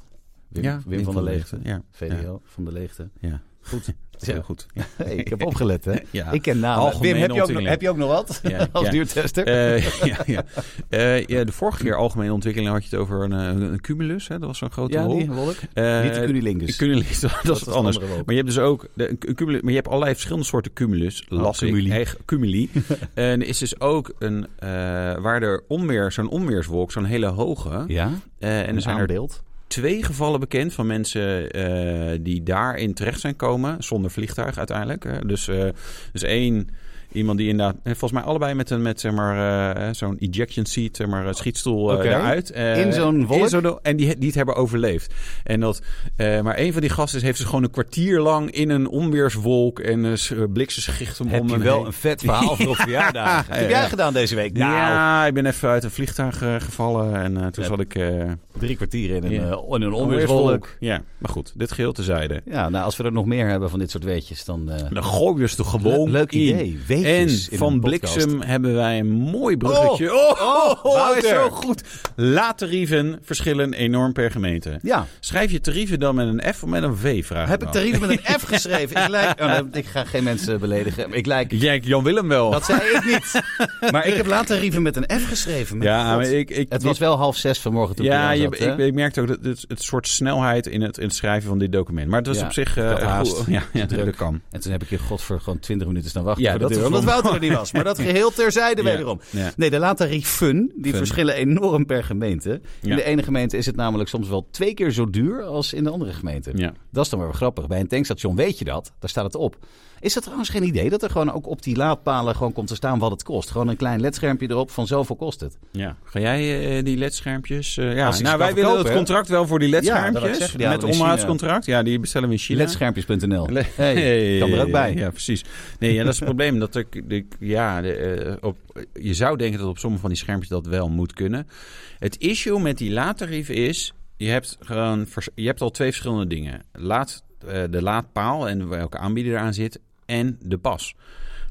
Wim,
Ja,
Wim van der Leegte.
Ja,
VDL
Ja,
van de Leegte.
ja.
Goed.
heel goed. Ja.
Hey, ik heb opgelet, hè?
Ja.
Ik ken namen.
Algemene
Wim, heb je, ook, nog-
ontwikkeling.
heb je ook nog wat
Ja,
als
ja.
duurtester?
Eh, ja, ja. Eh, ja, de vorige keer algemene ontwikkeling had je het over een, eh, een cumulus. Hè? Dat was zo'n grote
ja,
rol.
die rol ik.
Eh,
Niet de cumulingus.
cumulus, dat, is wat
het
anders.
andere woord.
Maar je hebt dus ook de, een cu- cumulus, maar je hebt allerlei verschillende soorten cumulus.
Oh,
las ik.
cumuli.
Eigen- cumuli. en er is dus ook een eh, waar er onweer, zo'n onweerswolk, zo'n hele hoge.
Ja, Nou,
Eh, en er zijn er
aanbeeld.
twee gevallen bekend van mensen eh, die daarin terecht zijn komen zonder vliegtuig uiteindelijk. hè. Dus, eh, dus één iemand die inderdaad, eh, volgens mij allebei met een met zeg maar eh, zo'n ejection seat, zeg maar eh, schietstoel eh
Oké.
eruit. Eh,
In zo'n wolk?
in zo'n- en die, die het hebben overleefd. En dat, eh, maar een van die gasten heeft dus gewoon een kwartier lang in een onweerswolk en uh, bliksenschichten
Heb
om
je
hem
wel
heen.
een vet verhaal voor op verjaardag. Wat heb
Ja.
jij gedaan deze week? Nou,
Ja, ik ben even uit een vliegtuig eh, gevallen en eh, toen
Ja.
zat ik... eh
drie kwartier in een,
Ja.
eh, in een
onweerswolk.
onweerswolk.
Ja, maar goed, dit geheel tezijde.
Ja, nou, als we er nog meer hebben van dit soort weetjes, dan... eh,
Dan gooi je ze toch gewoon
le- leuk
in.
idee. Weetjes
en
in
van
een podcast.
bliksem hebben wij een mooi bruggetje.
Oh, oh,
hij is
Wouter.
zo goed. Laat tarieven verschillen enorm per gemeente.
Ja,
Schrijf je tarieven dan met een F of met een V? Vraag
heb
me
ik
af.
tarieven met een F geschreven? Ik, lijk, oh, nee, ik ga geen mensen beledigen. Ik lijk...
Jij, Jan Willem wel.
Dat zei ik niet. Oh. Maar ik heb later tarieven met een F geschreven. Mijn
ja,
god.
maar ik, ik,
Het was wel half zes vanmorgen toen
Ja,
ik
je,
hier aan zat,
ik,
hè?
ik merkte ook dat het, het soort snelheid in het, in het schrijven van dit document. Maar het was
Ja,
op zich...
ik had
eh,
haast.
goed. Ja, ja,
Druk.
dat kan.
En toen heb ik je godver gewoon twintig minuten staan wachten
Ja,
voor de
dat
deur.
is
Omdat
wel-
Wouter er niet was. Maar dat geheel terzijde
Ja,
wederom.
ja.
Nee, de laadtarieven, die
Fun.
verschillen enorm per gemeente. In
Ja.
de ene gemeente is het namelijk soms wel twee keer zo duur als in de andere gemeente.
Ja.
Dat is dan weer grappig. Bij een tankstation weet je dat. Daar staat het op. Is dat trouwens geen idee dat er gewoon ook op die laadpalen gewoon komt te staan wat het kost? Gewoon een klein ledschermpje erop van zoveel kost het.
Ja. Ga jij eh, die ledschermpjes? eh, ja,
Als ik ze
nou,
kan
wij willen
verkopen,
het
hè?
contract wel voor die
Ja, dat wou ik
ledschermpjes.
zeggen, die
met
halen we in China.
onderhoudscontract. Ja, die bestellen we in China.
Ledschermpjes.nl.
Le-
Hey, kan er ook bij.
Ja, precies. Nee, ja, dat is het probleem. Dat ik, ik- ja, de, eh, op, je zou denken dat op sommige van die schermpjes dat wel moet kunnen. Het issue met die laadtarieven is... Je hebt, gewoon, vers- je hebt al twee verschillende dingen. Laad, eh, de laadpaal en welke aanbieder eraan zit. En de pas.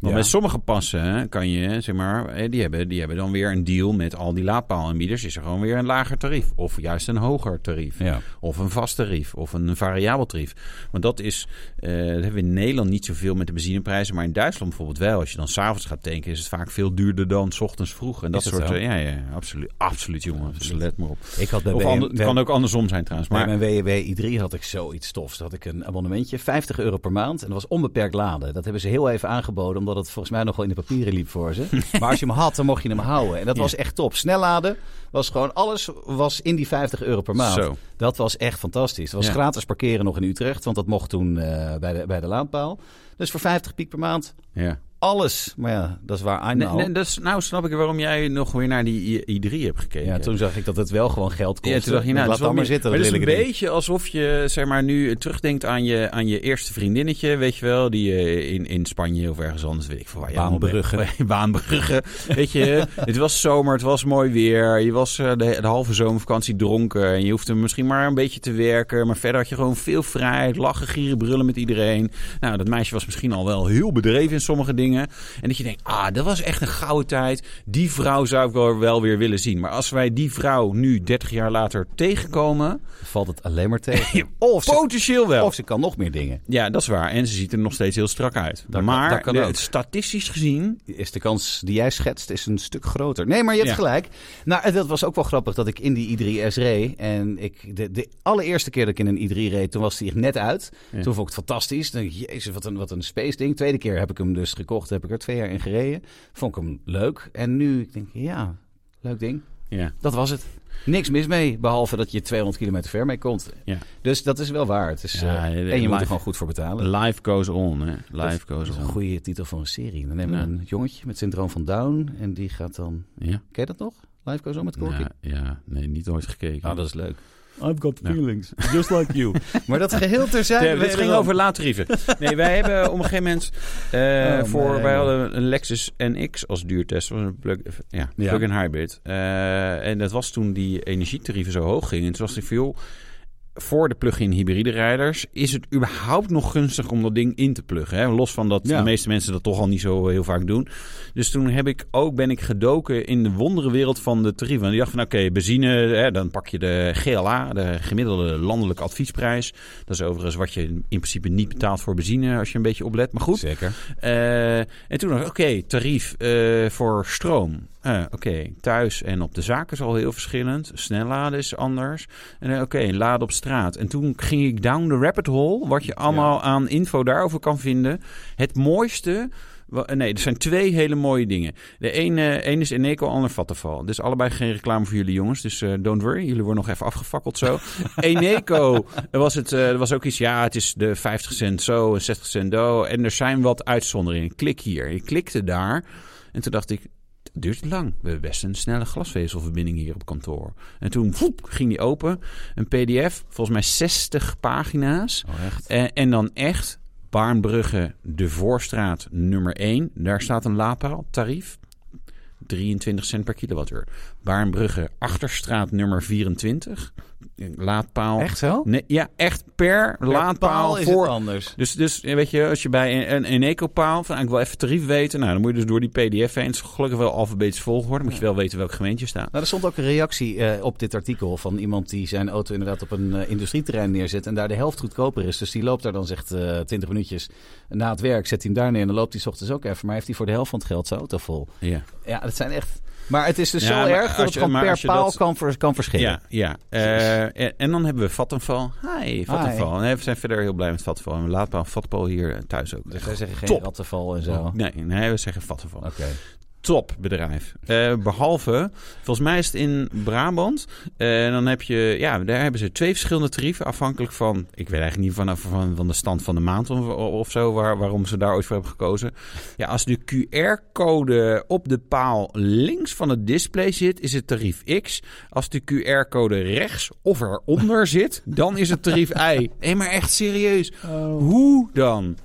Want
Ja.
met sommige passen kan je, zeg maar, eh, die hebben, die hebben dan weer een deal met al die laadpaalaanbieders. Is er gewoon weer een lager tarief. Of juist een hoger tarief.
Ja.
Of een vast tarief. Of een variabel tarief. Want dat is, eh, dat hebben we in Nederland niet zoveel met de benzineprijzen. Maar in Duitsland bijvoorbeeld wel. Als je dan s'avonds gaat tanken, is het vaak veel duurder dan s ochtends vroeg. En dat
Is dat
soort.
zo?
eh, Ja, ja, absoluut. Absoluut, jongen. Dus let maar op.
Ik had bij
Of
BM
ander- het kan ook andersom zijn trouwens. Maar
Bij mijn E WEW i3 had ik zoiets tofs. Daar had ik een abonnementje, 50 euro per maand. En dat was onbeperkt laden. Dat hebben ze heel even aangeboden, omdat het volgens mij nog wel in de papieren liep voor ze. Maar als je hem had, dan mocht je hem houden. En dat
Ja.
was echt top. Snel laden was gewoon, alles was in die 50 euro per maand.
Zo.
Dat was echt fantastisch. Dat was
Ja.
gratis parkeren nog in Utrecht, want dat mocht toen eh, bij, de, bij de laadpaal. Dus voor 50 piek per maand,
ja.
alles. Maar ja, dat is waar I
Nee,
know.
nee, dat is, nou snap ik waarom jij nog weer naar die I- I3 hebt gekeken.
ja, toen zag ik dat het wel gewoon geld kostte.
Ja, toen dacht je,
laat
nou, dat is wel
dan maar
meer-
zitten.
Maar
dat
het is een
lelijke ding.
beetje alsof je zeg maar, nu terugdenkt aan je, aan je eerste vriendinnetje, weet je wel, die eh, in, in Spanje of ergens anders, weet ik veel waar je allemaal
Baanbrugge.
bent. Baanbrugge. Weet je, het was zomer, het was mooi weer. Je was eh, de, de halve zomervakantie dronken en je hoefde misschien maar een beetje te werken. Maar verder had je gewoon veel vrijheid, lachen, gieren, brullen met iedereen. Nou, dat meisje was misschien al wel heel bedreven in sommige dingen. En dat je denkt, ah, dat was echt een gouden tijd. Die vrouw zou ik wel- wel weer willen zien. Maar als wij die vrouw nu 30 jaar later tegenkomen,
Valt het alleen maar tegen.
je- of
ze-
potentieel wel.
Of ze kan nog meer dingen.
Ja, dat is waar. En ze ziet er nog steeds heel strak uit.
Dat-
maar
dat kan
de-
ook.
statistisch gezien...
is de kans die jij schetst is een stuk groter. Nee, maar je hebt
Ja.
gelijk. Nou, en dat was ook wel grappig dat ik in die i3S reed. En ik, de, de allereerste keer dat ik in een i3 reed, toen was die echt net uit.
Ja.
Toen vond ik het fantastisch. Dan, dacht ik, jezus, wat een, wat een space ding. Tweede keer heb ik hem dus gekocht. Heb ik er twee jaar in gereden. Vond ik hem leuk. En nu, ik denk, ja, leuk ding.
Ja.
Dat was het. Niks mis mee, behalve dat je 200 kilometer ver mee komt.
Ja.
Dus dat is wel waar. Het is,
Ja,
eh,
je-
en je moet
live-
er gewoon goed voor betalen.
Life goes on, hè.
Dat-
Life goes
Dat is een
on.
goede titel voor een serie. Dan nemen we
Ja.
een jongetje met syndroom van Down. En die gaat dan...
Ja.
Ken je dat nog? Live Goes On met Corky? Ah,
Ja, ja, nee, niet ooit gekeken.
dat is leuk.
I've got
Ja.
feelings, just like you.
Maar dat geheel terzijde.
Nee, dit ging over laadtarieven. Nee, wij hebben op een gegeven moment... eh,
Oh,
voor,
nee.
wij hadden een Lexus NX als duurtest. Dat was een plug- ja,
Ja.
plug-in hybrid. Eh, en dat was toen die energietarieven zo hoog gingen. En toen was ik veel... Voor de plug-in hybride rijders is het überhaupt nog gunstig om dat ding in te pluggen. Hè? Los van dat
Ja.
de meeste mensen dat toch al niet zo heel vaak doen. Dus toen heb ik ook, ben ik gedoken in de wondere wereld van de tarieven. En ik dacht van, oké, benzine, hè, dan pak je de GLA, de gemiddelde landelijke adviesprijs. Dat is overigens wat je in principe niet betaalt voor benzine, als je een beetje oplet. Maar goed.
Zeker.
Eh, en toen dacht ik, oké, tarief eh, voor stroom. Eh, oké, thuis en op de zaak is al heel verschillend. Snelladen is anders. En eh, oké, laden op straat. En toen ging ik down the rabbit hole, wat je allemaal aan info daarover kan vinden. Het mooiste... wa- eh, Nee, er zijn twee hele mooie dingen. De ene, een is Eneco, ander Vattenfall. Dus allebei geen reclame voor jullie jongens. Dus eh, don't worry, jullie worden nog even afgefakkeld zo. Eneco er was het, eh, er was ook iets, ja, het is de 50 cent zo en 60 cent do. En er zijn wat uitzonderingen. Klik hier. Ik klikte daar en toen dacht ik, het duurt lang. We hebben best een snelle glasvezelverbinding hier op kantoor. En toen voep, ging die open. Een pdf, volgens mij 60 pagina's.
Oh, echt?
Eh, en dan echt Baarnbrugge, de Voorstraat nummer 1. Daar staat een laadpaaltarief. 23 cent per kilowattuur. Baarnbrugge, Achterstraat nummer 24. eh, Laadpaal.
Echt zo?
Nee, ja, echt per, laadpaal
is
voor.
het anders.
Dus, dus eh, weet je, als je bij een, een eco-paal van ah, ik wil even tarief weten, nou dan moet je dus door die PDF heen. Het is gelukkig wel alfabetisch volgorde, moet je wel weten welk gemeente je staat.
Nou, er stond ook een reactie eh, op dit artikel van iemand die zijn auto inderdaad op een eh, industrieterrein neerzet en daar de helft goedkoper is. Dus die loopt daar dan, zegt eh 20 minuutjes na het werk, zet hij hem daar neer en dan loopt hij 's ochtends ook even. Maar heeft hij voor de helft van het geld zijn auto vol.
Ja.
Ja, dat zijn echt... Maar het is dus
Ja,
zo
maar
erg
als
dat
je-
het gewoon
maar
per
als je
paal
dat-
kan, vers- kan verschillen.
Ja, ja. Eh, en, en dan hebben we Vattenfall. Hi, Vattenfall. Nee, we zijn verder heel blij met Vattenfall. En we laten wel Vattenfall hier eh, thuis ook.
Dus wij zeggen geen
Top.
rattenval en zo. Oké.
Nee, nee, we zeggen Vattenfall. Top bedrijf. Eh, behalve, volgens mij is het in Brabant. En dan heb je, ja, daar hebben ze twee verschillende tarieven. Afhankelijk van, ik weet eigenlijk niet vanaf van, van de stand van de maand of, of zo. Waar, waarom ze daar ooit voor hebben gekozen. Ja, als de QR-code op de paal links van het display zit, is het tarief X. Als de QR-code rechts of eronder zit, dan is het tarief Y. Nee, maar echt serieus. Hoe dan?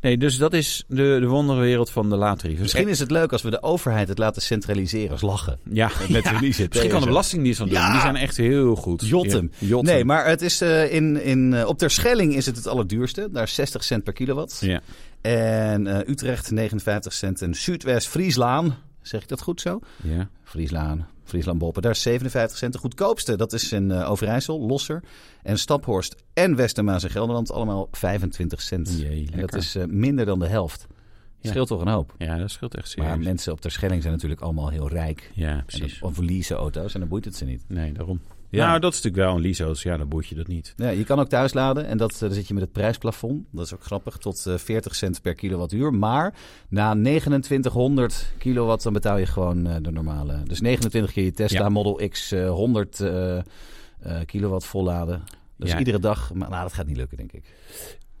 Nee, dus dat is de, de wonderwereld van de laadtarieven. Dus
Misschien is het leuk als we de overheid het laten centraliseren. als lachen.
Ja,
Met verliezen.
Misschien kan de Belastingdienst dat doen.
Ja.
Die zijn echt heel goed.
Jotem.
Ja, Jotem.
Nee, maar het is eh, in, in, eh, op Terschelling is het het allerduurste. Daar is 60 cent per kilowatt.
Ja.
En eh, Utrecht 59 cent. En Zuidwest-Frieslaan, zeg ik dat goed zo?
ja.
Frieslaan, Friesland-Bolpen. Daar is 57 cent. De goedkoopste, dat is in eh, Overijssel, Losser. En Staphorst en Westermaas en Gelderland allemaal 25 cent.
Jee,
en dat
lekker.
is eh, minder dan de helft.
Ja.
Scheelt toch een hoop.
Ja, dat scheelt echt serieus.
Maar mensen op Terschelling zijn natuurlijk allemaal heel rijk.
Ja,
En
precies.
dat- Of leasen auto's en dan boeit het ze niet.
Nee, daarom.
Ja.
Nou, dat is natuurlijk wel een leasehoos. Ja, dan boeit je dat niet.
Ja, je kan ook thuis laden en dat, eh, dan zit je met het prijsplafond. Dat is ook grappig, tot eh, 40 cent per kilowattuur. Maar na 2900 kilowatt, dan betaal je gewoon eh, de normale. Dus 29 keer je Tesla
Ja.
Model X eh, 100 eh, eh, kilowatt volladen. Dus
Ja.
iedere dag, maar nou, dat gaat niet lukken, denk ik.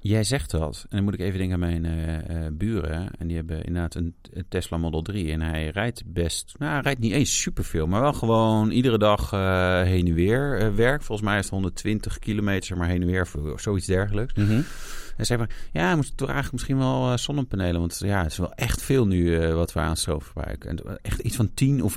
Jij zegt dat. En dan moet ik even denken aan mijn eh, eh, buren. En die hebben inderdaad een, een Tesla Model 3. En hij rijdt best... Nou, hij rijdt niet eens superveel. Maar wel gewoon iedere dag eh, heen en weer eh, werk. Volgens mij is het 120 kilometer maar heen en weer. Of zoiets dergelijks. En zei maar, ja, we moeten toch eigenlijk misschien wel eh, zonnepanelen. Want ja, het is wel echt veel nu eh, wat we aan stroom verbruiken. En echt iets van 10 of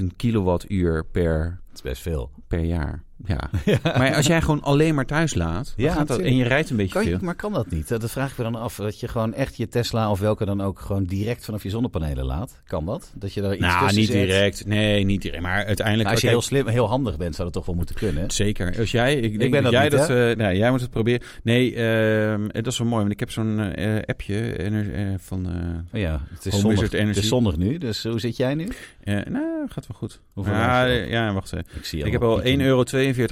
11.000 kilowattuur per,
Dat is best veel.
per jaar. Ja. Maar als jij gewoon alleen maar thuis laat, dan
Ja,
gaat dat, en
natuurlijk.
je rijdt een beetje
Kan je,
veel.
maar kan dat niet? Dat vraag ik me dan af. Dat je gewoon echt je Tesla of welke dan ook gewoon direct vanaf je zonnepanelen laat. Kan dat? Dat je daar iets
Nou,
tussen
niet
zet?
direct. Nee, niet direct. Maar uiteindelijk...
Maar als je heel
kijk,
slim, heel handig bent, zou dat toch wel moeten kunnen.
Zeker. Als jij, ik denk
ben dat
dat jij
niet,
dat, eh, nou, jij moet het proberen. Nee, ehm, dat is wel mooi, want ik heb zo'n eh, appje ener- eh, van. eh,
Oh ja, het is,
Home
zonnig,
Wizard
het
Energy.
is zonnig nu, dus hoe zit jij nu?
eh, nou, gaat wel goed.
Hoeveel
ja,
was je?
eh, ja, wacht even.
Ik, zie
Ik heb al 1,42 euro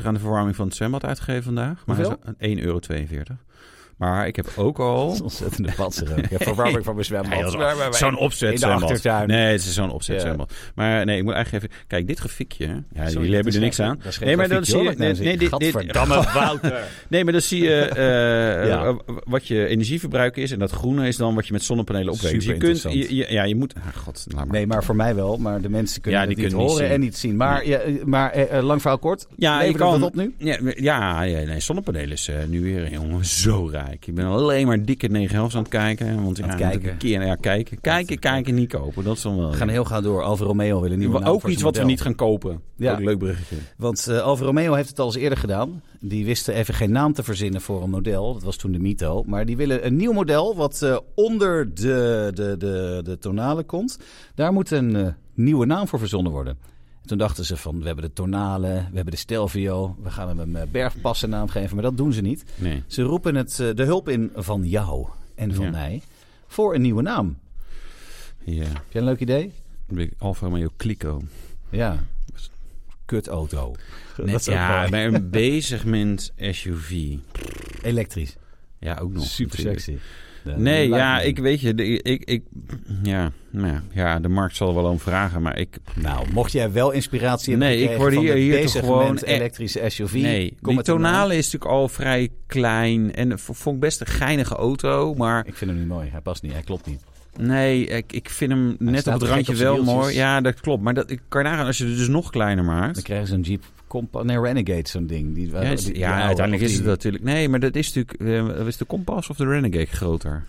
aan de verwarming van het zwembad uitgegeven vandaag. Maar
Hoeveel?
1,42 euro. Maar ik heb ook al.
Dat is ontzettende patser ook. Ik heb verwarming van mijn zwembad.
Nee, dat is wel- Zo'n opzet
in de
zwembad.
achtertuin.
Nee, het is zo'n opzet
Ja.
zwembad. Maar nee, ik moet eigenlijk even... Kijk, dit grafiekje. Ja,
Sorry,
jullie
dat
hebben
is
er niks
geen-
aan.
dat is geen
Nee, maar dan
grafiekje,
zie je...
hoor, dat
Nee,
nou
nee,
zie ik.
dit, dit,
Gadverdamme,
nee, maar dan zie je eh,
Ja.
eh, wat je energieverbruik is. En dat groene is dan wat je met zonnepanelen opweegt. Dus je kunt...
Superinteressant.
je- je- ja, je moet... Ah, god, laat maar.
Nee, maar voor mij wel. Maar de mensen kunnen
Ja,
het
die
niet
kunnen niet
horen en
zien.
niet zien. Maar, ja, eh, maar eh, eh, lang verhaal kort.
Ja,
Levert
je kan.
dat op nu?
Ja, ja, ja, nee, zonnepanelen is eh, nu weer jongen, zo rijk. Ik ben alleen maar dikke 9 helft aan het kijken. Want ja,
Aan het
moet ik
kijken.
Een keer, ja, kijken. Kijken, kijken, niet kopen. Dat is dan wel...
We gaan heel gauw door. Alfa Romeo wil een nieuwe naam
ook
voor
iets
zijn
wat
model.
we niet gaan kopen.
Ja.
Ook een leuk bruggetje.
Want eh Alfa Romeo heeft het al eens eerder gedaan. Die wisten even geen naam te verzinnen voor een model. Dat was toen de Mito. Maar die willen een nieuw model wat eh, onder de, de, de, de tonale komt. Daar moet een eh, nieuwe naam voor verzonnen worden. En toen dachten ze van, we hebben de tonale, we hebben de Stelvio. We gaan hem een eh, bergpassennaam geven, maar dat doen ze niet.
Nee.
Ze roepen het, eh, de hulp in van jou en van
Ja.
mij voor een nieuwe naam.
Ja.
Heb jij een leuk idee?
Alfa Romeo Clico.
Ja. Kutauto.
Net,
is ook
ja,
mooi.
bij een bezigment SUV.
Elektrisch.
Ja, ook nog.
Super
natuurlijk.
sexy.
Nee, ja, ik weet je, de- ik, ik, ja, nou ja, ja, de markt zal er wel om vragen, maar ik,
Nou, mocht jij wel inspiratie hebben
Nee, ik
gekregen
word
van
hier-
het
hier toch
bezigement
gewoon e-
elektrische SUV.
nee,
kom
die
met een naam.
tonale is natuurlijk al vrij klein en v- vond ik best een geinige auto, maar
Ik vind hem niet mooi. Hij past niet. Hij klopt niet.
nee, ik, ik vind hem net op
staat
het
gek
randje
op zijn
wel
wieltjes.
mooi. Ja, dat klopt, maar dat, ik kan je nagaan, als je het dus nog kleiner maakt,
Dan krijgen ze een Jeep Compass. Nee, Renegade zo'n ding. Die,
Ja,
eh, die-
is-
die-
ja,
die oude,
uiteindelijk
of
is het
die-
natuurlijk. Nee, maar dat is natuurlijk. eh, is de Compass of de Renegade groter?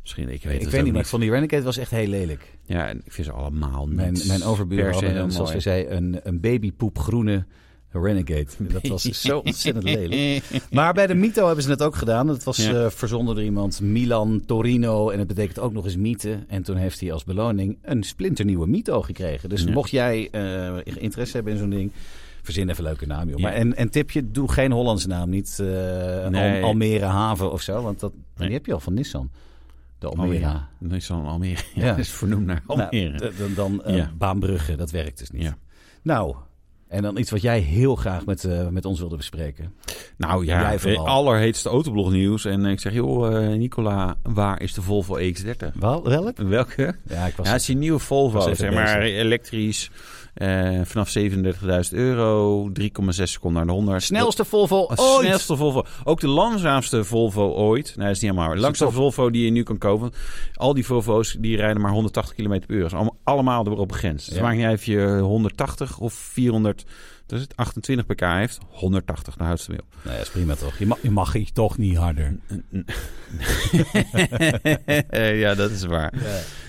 Misschien, ik weet
Ik
het
weet
ook
niet, maar ik vond die Renegade was echt heel lelijk.
Ja, en ik vind ze allemaal niet.
Mijn, mijn overburen
per se
hadden,
heel
een, zoals je
mooi.
zei, een, een babypoepgroene Renegade. Dat was zo ontzettend lelijk. Maar bij de Mito hebben ze het ook gedaan. Dat was
Ja.
eh verzonnen door iemand Milan Torino. En het betekent ook nog eens mythe. En toen heeft hij als beloning een splinternieuwe Mito gekregen. Dus
Ja.
mocht jij eh, interesse hebben in zo'n ding, verzin even een leuke naam. Joh.
Ja.
Maar en, en tipje, doe geen Hollandse naam. Niet eh, Al-
Nee.
Almere Haven of zo. Want dat,
Nee.
die heb je al van Nissan. De Almere.
Almere. Nee, zo'n Almere. Ja,
Ja.
dat is vernoemd naar Almere.
Nou, d- dan dan eh,
Ja.
Baanbrugge, dat werkt dus niet.
Ja.
Nou, en dan iets wat jij heel graag met, eh, met ons wilde bespreken.
nou ja,
Jij
het
vooral.
allerheetste autoblognieuws. En ik zeg, joh, eh, Nicola, waar is de Volvo EX30?
Wel, welk?
Welke?
Ja, ik was
Ja, het is die nieuwe Volvo,
even
zeg
bezig.
maar, elektrisch. eh, vanaf 37.000 euro, 3,6 seconden naar de 100.
Snelste Volvo
De
ooit.
snelste Volvo. Ook de langzaamste Volvo ooit. Nee, dat is niet helemaal. waar. De langzaamste Volvo die je nu kan kopen. Al die Volvo's die rijden maar 180 km per uur. Dat is allemaal- allemaal erop begrensd. Dus
Ja.
maakt niet uit of je 180 of 400, dat is het, 28 pk heeft. 180, daar houdt ze mee op.
Nou ja, is prima toch. Je mag, je mag hier toch niet harder.
Eh, ja, dat is waar.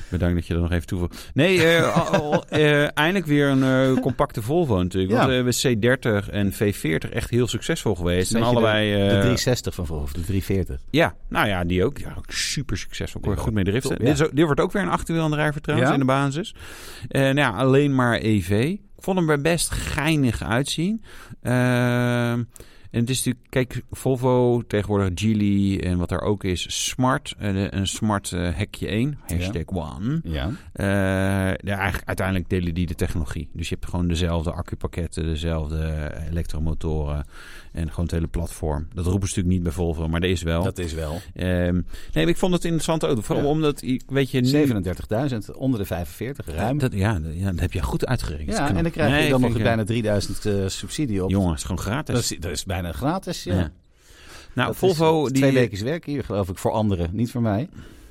Bedankt dat je dat nog even toevoegt. Nee, eh, al- al- eh, eindelijk weer een eh, compacte Volvo natuurlijk.
Ja.
Want eh, we C30 en V40 echt heel succesvol geweest. En allebei...
de, de
eh,
360 van Volvo, of de 340.
Ja, nou ja, die ook. Ja, ook super succesvol. Kon je
Ja,
goed mee driften.
top, ja.
dit, is ook- dit wordt ook weer een achterwielaandrijver trouwens
Ja?
in de basis. Eh nou ja, alleen maar EV. Ik vond hem er best geinig uitzien. Ehm, en het is natuurlijk, kijk, Volvo, tegenwoordig Geely en wat er ook is, Smart. eh, de- een Smart eh, hekje 1, hashtag one.
Ja.
Eh, ja, eigenlijk, uiteindelijk delen die de technologie. Dus je hebt gewoon dezelfde accupakketten, dezelfde eh, elektromotoren en gewoon het hele platform. Dat roepen ze natuurlijk niet bij Volvo, maar er is wel.
Dat is wel. 37.000
Ehm, nee, maar ik vond het een interessante auto. Vooral
Ja.
omdat, i- weet je... nu-
onder de 45, ruim.
Dat, ja, dat- ja, dat heb je goed uitgerekend.
ja,
Knap.
en dan krijg
Nee,
je dan
vind
nog
ik,
bijna 3000 eh, subsidie
eh,
op.
Jongen, het is gewoon
dat,
gratis.
is, dat is bijna gratis, ja.
Ja. nou,
Dat is
Volvo... die,
Twee weken werk hier, geloof ik, voor anderen. Niet voor mij.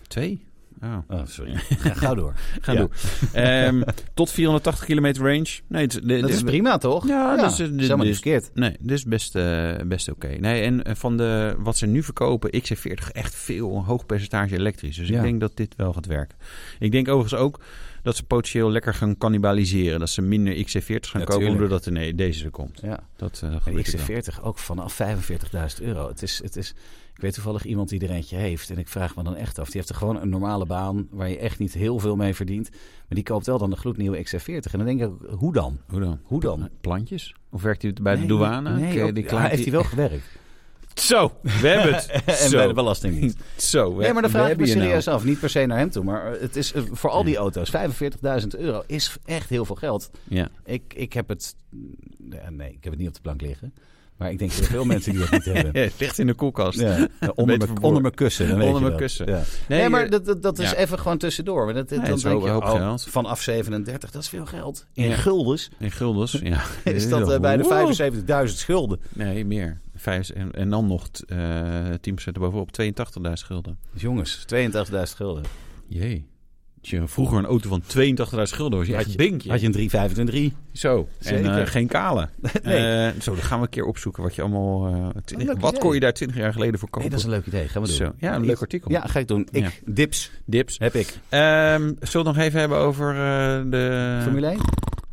Twee? Oh,
Oh, sorry. Ga gauw door.
gaan
Ja.
doen. Ehm, tot 480 kilometer range. Nee, het, de- de-
Dat is prima, toch?
Ja, dat is-
is
dit-
helemaal niet
dit-
verkeerd.
Nee, dit is best, eh, best oké. Nee, en eh, van de, wat ze nu verkopen, XC40 echt veel, een hoog percentage elektrisch. Dus
Ja.
ik denk dat dit wel gaat werken. Ik denk overigens ook dat ze potentieel lekker gaan cannibaliseren. Dat ze minder XC40 gaan
Ja,
kopen
tuurlijk.
doordat er nee, E- deze er komt.
Ja.
Dat eh
En
gebeurt er wel.
XC40 ook vanaf 45.000 euro. Het is, het is, ik weet toevallig iemand die er eentje heeft. En ik vraag me dan echt af. Die heeft er gewoon een normale baan waar je echt niet heel veel mee verdient. Maar die koopt wel dan een gloednieuwe XC40. En dan denk ik, ook, hoe dan?
Hoe dan? Eh,
Hoe dan?
Plantjes? Of werkt hij bij de
Nee,
douane?
Nee,
Ken je
ook-
die
ja,
kleine-
heeft hij wel gewerkt.
Zo, we hebben het.
en
Zo.
bij de Belastingdienst.
Zo, we-
Nee, maar dan
we
vraag ik me
hebben je nou.
serieus af. Niet per se naar hem toe. Maar eh, het is eh, voor al die auto's. 45.000 euro is echt heel veel geld.
Ja.
Ik, ik heb het... ja, Nee, ik heb het niet op de plank liggen. Maar ik denk dat er veel mensen die dat niet hebben.
Ja, het ligt in de koelkast.
Ja, onder,
Beetje
mijn, onder mijn kussen. dan weet
Onder
je
mijn
dat.
kussen.
Ja.
Nee,
Nee,
eh,
maar dat, dat, dat is
ja.
even gewoon tussendoor. Want dat,
Nee,
dan
het is
denk
ook
je,
een hoop
oh,
geld.
vanaf 37, dat is veel geld. In
Ja.
guldens
In guldens, ja.
is dat eh, bij
Wow.
de 75.000 schulden.
Nee, meer. Vijf, en, en dan nog t- eh 10% erbovenop. 82.000 gulden.
Jongens, 82.000 schulden.
Jee. Als je vroeger een auto van 82.000 gulden was, je
Had
echt
je-
binkje.
Had je een 325
Zo. En
Zeker.
eh, geen kale.
Nee.
Eh, zo, dan gaan we een keer opzoeken wat je allemaal... eh, twintig-
leuk
wat
idee.
kon je daar 20 jaar geleden voor kopen?
Nee, dat is een leuk idee. Gaan we doen.
Zo. Ja, een leuk artikel.
Ja, ga ik doen. Ik, Dips
Dips.
heb ik.
Ehm zullen we het nog even hebben over eh, de...
Formule 1?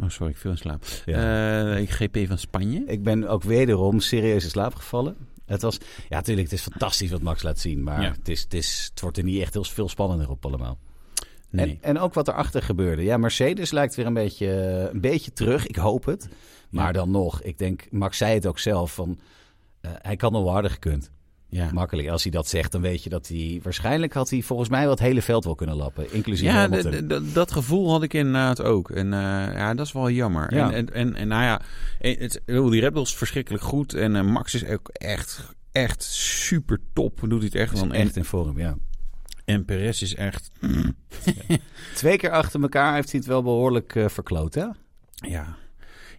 Oh, sorry, ik viel in slaap. Eh, GP van Spanje.
Ik ben ook wederom serieus in slaap gevallen. Het was, ja, natuurlijk, het is fantastisch wat Max laat zien. Maar
Ja.
het, is, het, is, het wordt er niet echt heel veel spannender op allemaal.
Nee.
En, en ook wat erachter gebeurde. Ja, Mercedes lijkt weer een beetje, een beetje terug. Ik hoop het. Maar
Ja.
dan nog, ik denk, Max zei het ook zelf van. eh, hij kan nog wel harder gekund.
ja.
Makkelijk. Als hij dat zegt, dan weet je dat hij. Waarschijnlijk had hij volgens mij wel het hele veld wel kunnen lappen. Inclusief.
Ja,
Hamilton.
d- d- d- dat gevoel had ik inderdaad ook. En eh, ja, dat is wel jammer.
Ja.
En, en, en, en nou ja, en het, ik bedoel, die Red Bull is verschrikkelijk goed. En eh, Max is ook echt, echt super top. Doet hij het echt
Hij is
dan
echt in vorm, ja.
En Perez is echt... mm,
Twee keer achter elkaar heeft hij het wel behoorlijk eh, verkloot, hè?
Ja.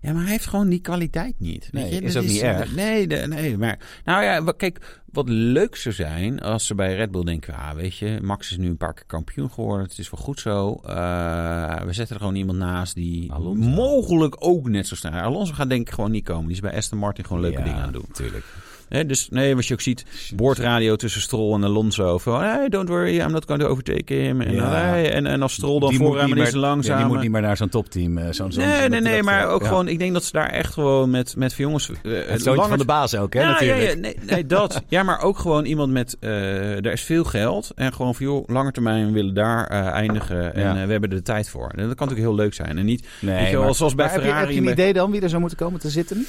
Ja, maar hij heeft gewoon die kwaliteit niet.
Nee,
je?
is
Dat eh,
ook niet erg.
Nee, de- nee, maar... Nou ja, wa- kijk, wat leuk zou zijn als ze bij Red Bull denken... Ah, weet je, Max is nu een paar keer kampioen geworden. Het is wel goed zo. Eh, we zetten er gewoon iemand naast die
Alonso.
mogelijk ook net zo snel... Alonso gaat denk ik gewoon niet komen. Die is bij Aston Martin gewoon leuke
Ja,
dingen aan het doen.
Natuurlijk.
Hè, dus nee, wat je ook ziet, boordradio tussen Stroll en Alonso. Van, hey, don't worry, I'm not going to overtake him. En,
Ja.
hey, en, en als Stroll dan
Die moet
voor hem
niet
en is
meer-
langzaam.
ja, die moet niet meer naar zo'n topteam. eh, zo'n zo'n-
Nee,
zo'n-
nee, nee,
dat- eh,
maar ook
ja.
gewoon, ik denk dat ze daar echt gewoon met, met van jongens. eh,
Het zoontje
langer-
van de baas ook, hè?
Ja, ja,
natuurlijk.
ja, nee, nee, dat. Ja, maar ook gewoon iemand met, eh er is veel geld. En gewoon van, joh, lange termijn, we willen daar eh, eindigen. En
Ja.
eh, we hebben er de tijd voor. En dat kan natuurlijk heel leuk zijn. En niet,
Nee,
weet je wel,
maar-
zoals bij
maar heb je- Heb
Ferrari.
je,
en bij-
een idee dan wie er zou moeten komen te zitten?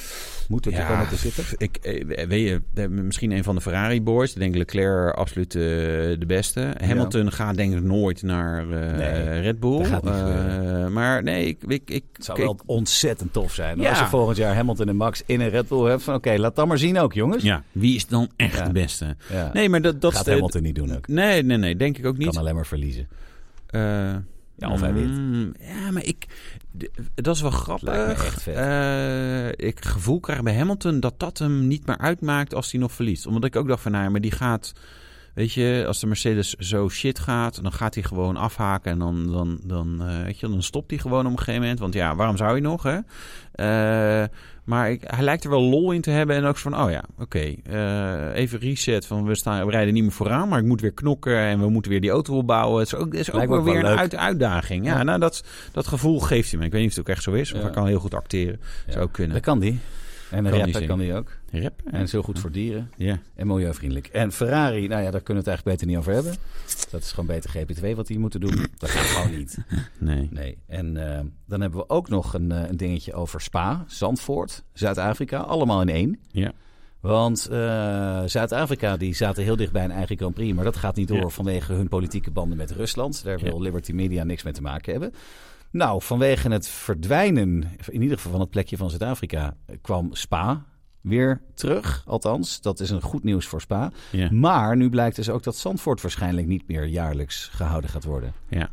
Moet er
Ja.
komen te zitten?
Ik, eh, weet je, eh, misschien een van de Ferrari boys. Ik denk Leclerc absoluut eh, de beste. Hamilton gaat denk ik nooit naar eh,
Nee,
Red Bull.
dat gaat niet
Eh,
gebeuren.
maar nee, ik... ik, ik
Het zou
ik-
wel dus- ontzettend tof zijn. hoor.
Ja.
Als je volgend jaar Hamilton en Max in een Red Bull hebt. Van oké, laat dat maar zien ook, jongens.
Ja, wie is dan echt
Ja.
de beste?
Ja.
Nee, maar dat... dat
Gaat
eh,
Hamilton niet doen ook.
Nee, nee, nee, denk ik ook niet.
Kan alleen maar verliezen.
Eh,
Ja, of hij wint.
mm, Ja, maar ik... d- Dat is wel
Lijkt me
grappig.
echt vet.
Eh, ik gevoel krijg bij Hamilton dat dat hem niet meer uitmaakt als hij nog verliest. Omdat ik ook dacht van, nou ja, maar die gaat... Weet je, als de Mercedes zo shit gaat, dan gaat hij gewoon afhaken. En dan, dan, dan, eh, weet je, dan stopt hij gewoon op een gegeven moment. Want ja, waarom zou hij nog, hè? Eh, maar ik, hij lijkt er wel lol in te hebben. En ook zo van, oh ja, oké. eh, even reset van, we, staan, we rijden niet meer vooraan. Maar ik moet weer knokken en we moeten weer die auto opbouwen. Het is ook, het is ook
Lijkt me
wel
ook wel
weer een
leuk.
uit, uitdaging. Ja,
Ja.
Nou, dat, dat gevoel geeft hij me. Ik weet niet of het ook echt zo is. Of
Ja.
hij kan heel goed acteren.
Ja.
Zou kunnen.
Dat kan die. En een
die
rapper
zingen.
kan die ook.
Rap?
En is heel goed voor dieren.
Ja.
En milieuvriendelijk. En Ferrari, nou ja, daar kunnen we het eigenlijk beter niet over hebben. Dat is gewoon beter GP2 wat die moeten doen. Dat gaat gewoon niet.
Nee.
Nee. En eh, dan hebben we ook nog een, eh, een dingetje over Spa, Zandvoort, Zuid-Afrika. Allemaal in één.
Ja.
Want eh, Zuid-Afrika die zaten heel dicht bij een eigen Grand Prix. Maar dat gaat niet door
Ja.
vanwege hun politieke banden met Rusland. Daar
Ja.
wil Liberty Media niks mee te maken hebben. Nou, vanwege het verdwijnen, in ieder geval van het plekje van Zuid-Afrika, eh, kwam Spa weer terug. Althans, dat is een goed nieuws voor Spa.
Ja.
Maar nu blijkt dus ook dat Zandvoort waarschijnlijk niet meer jaarlijks gehouden gaat worden.
Ja.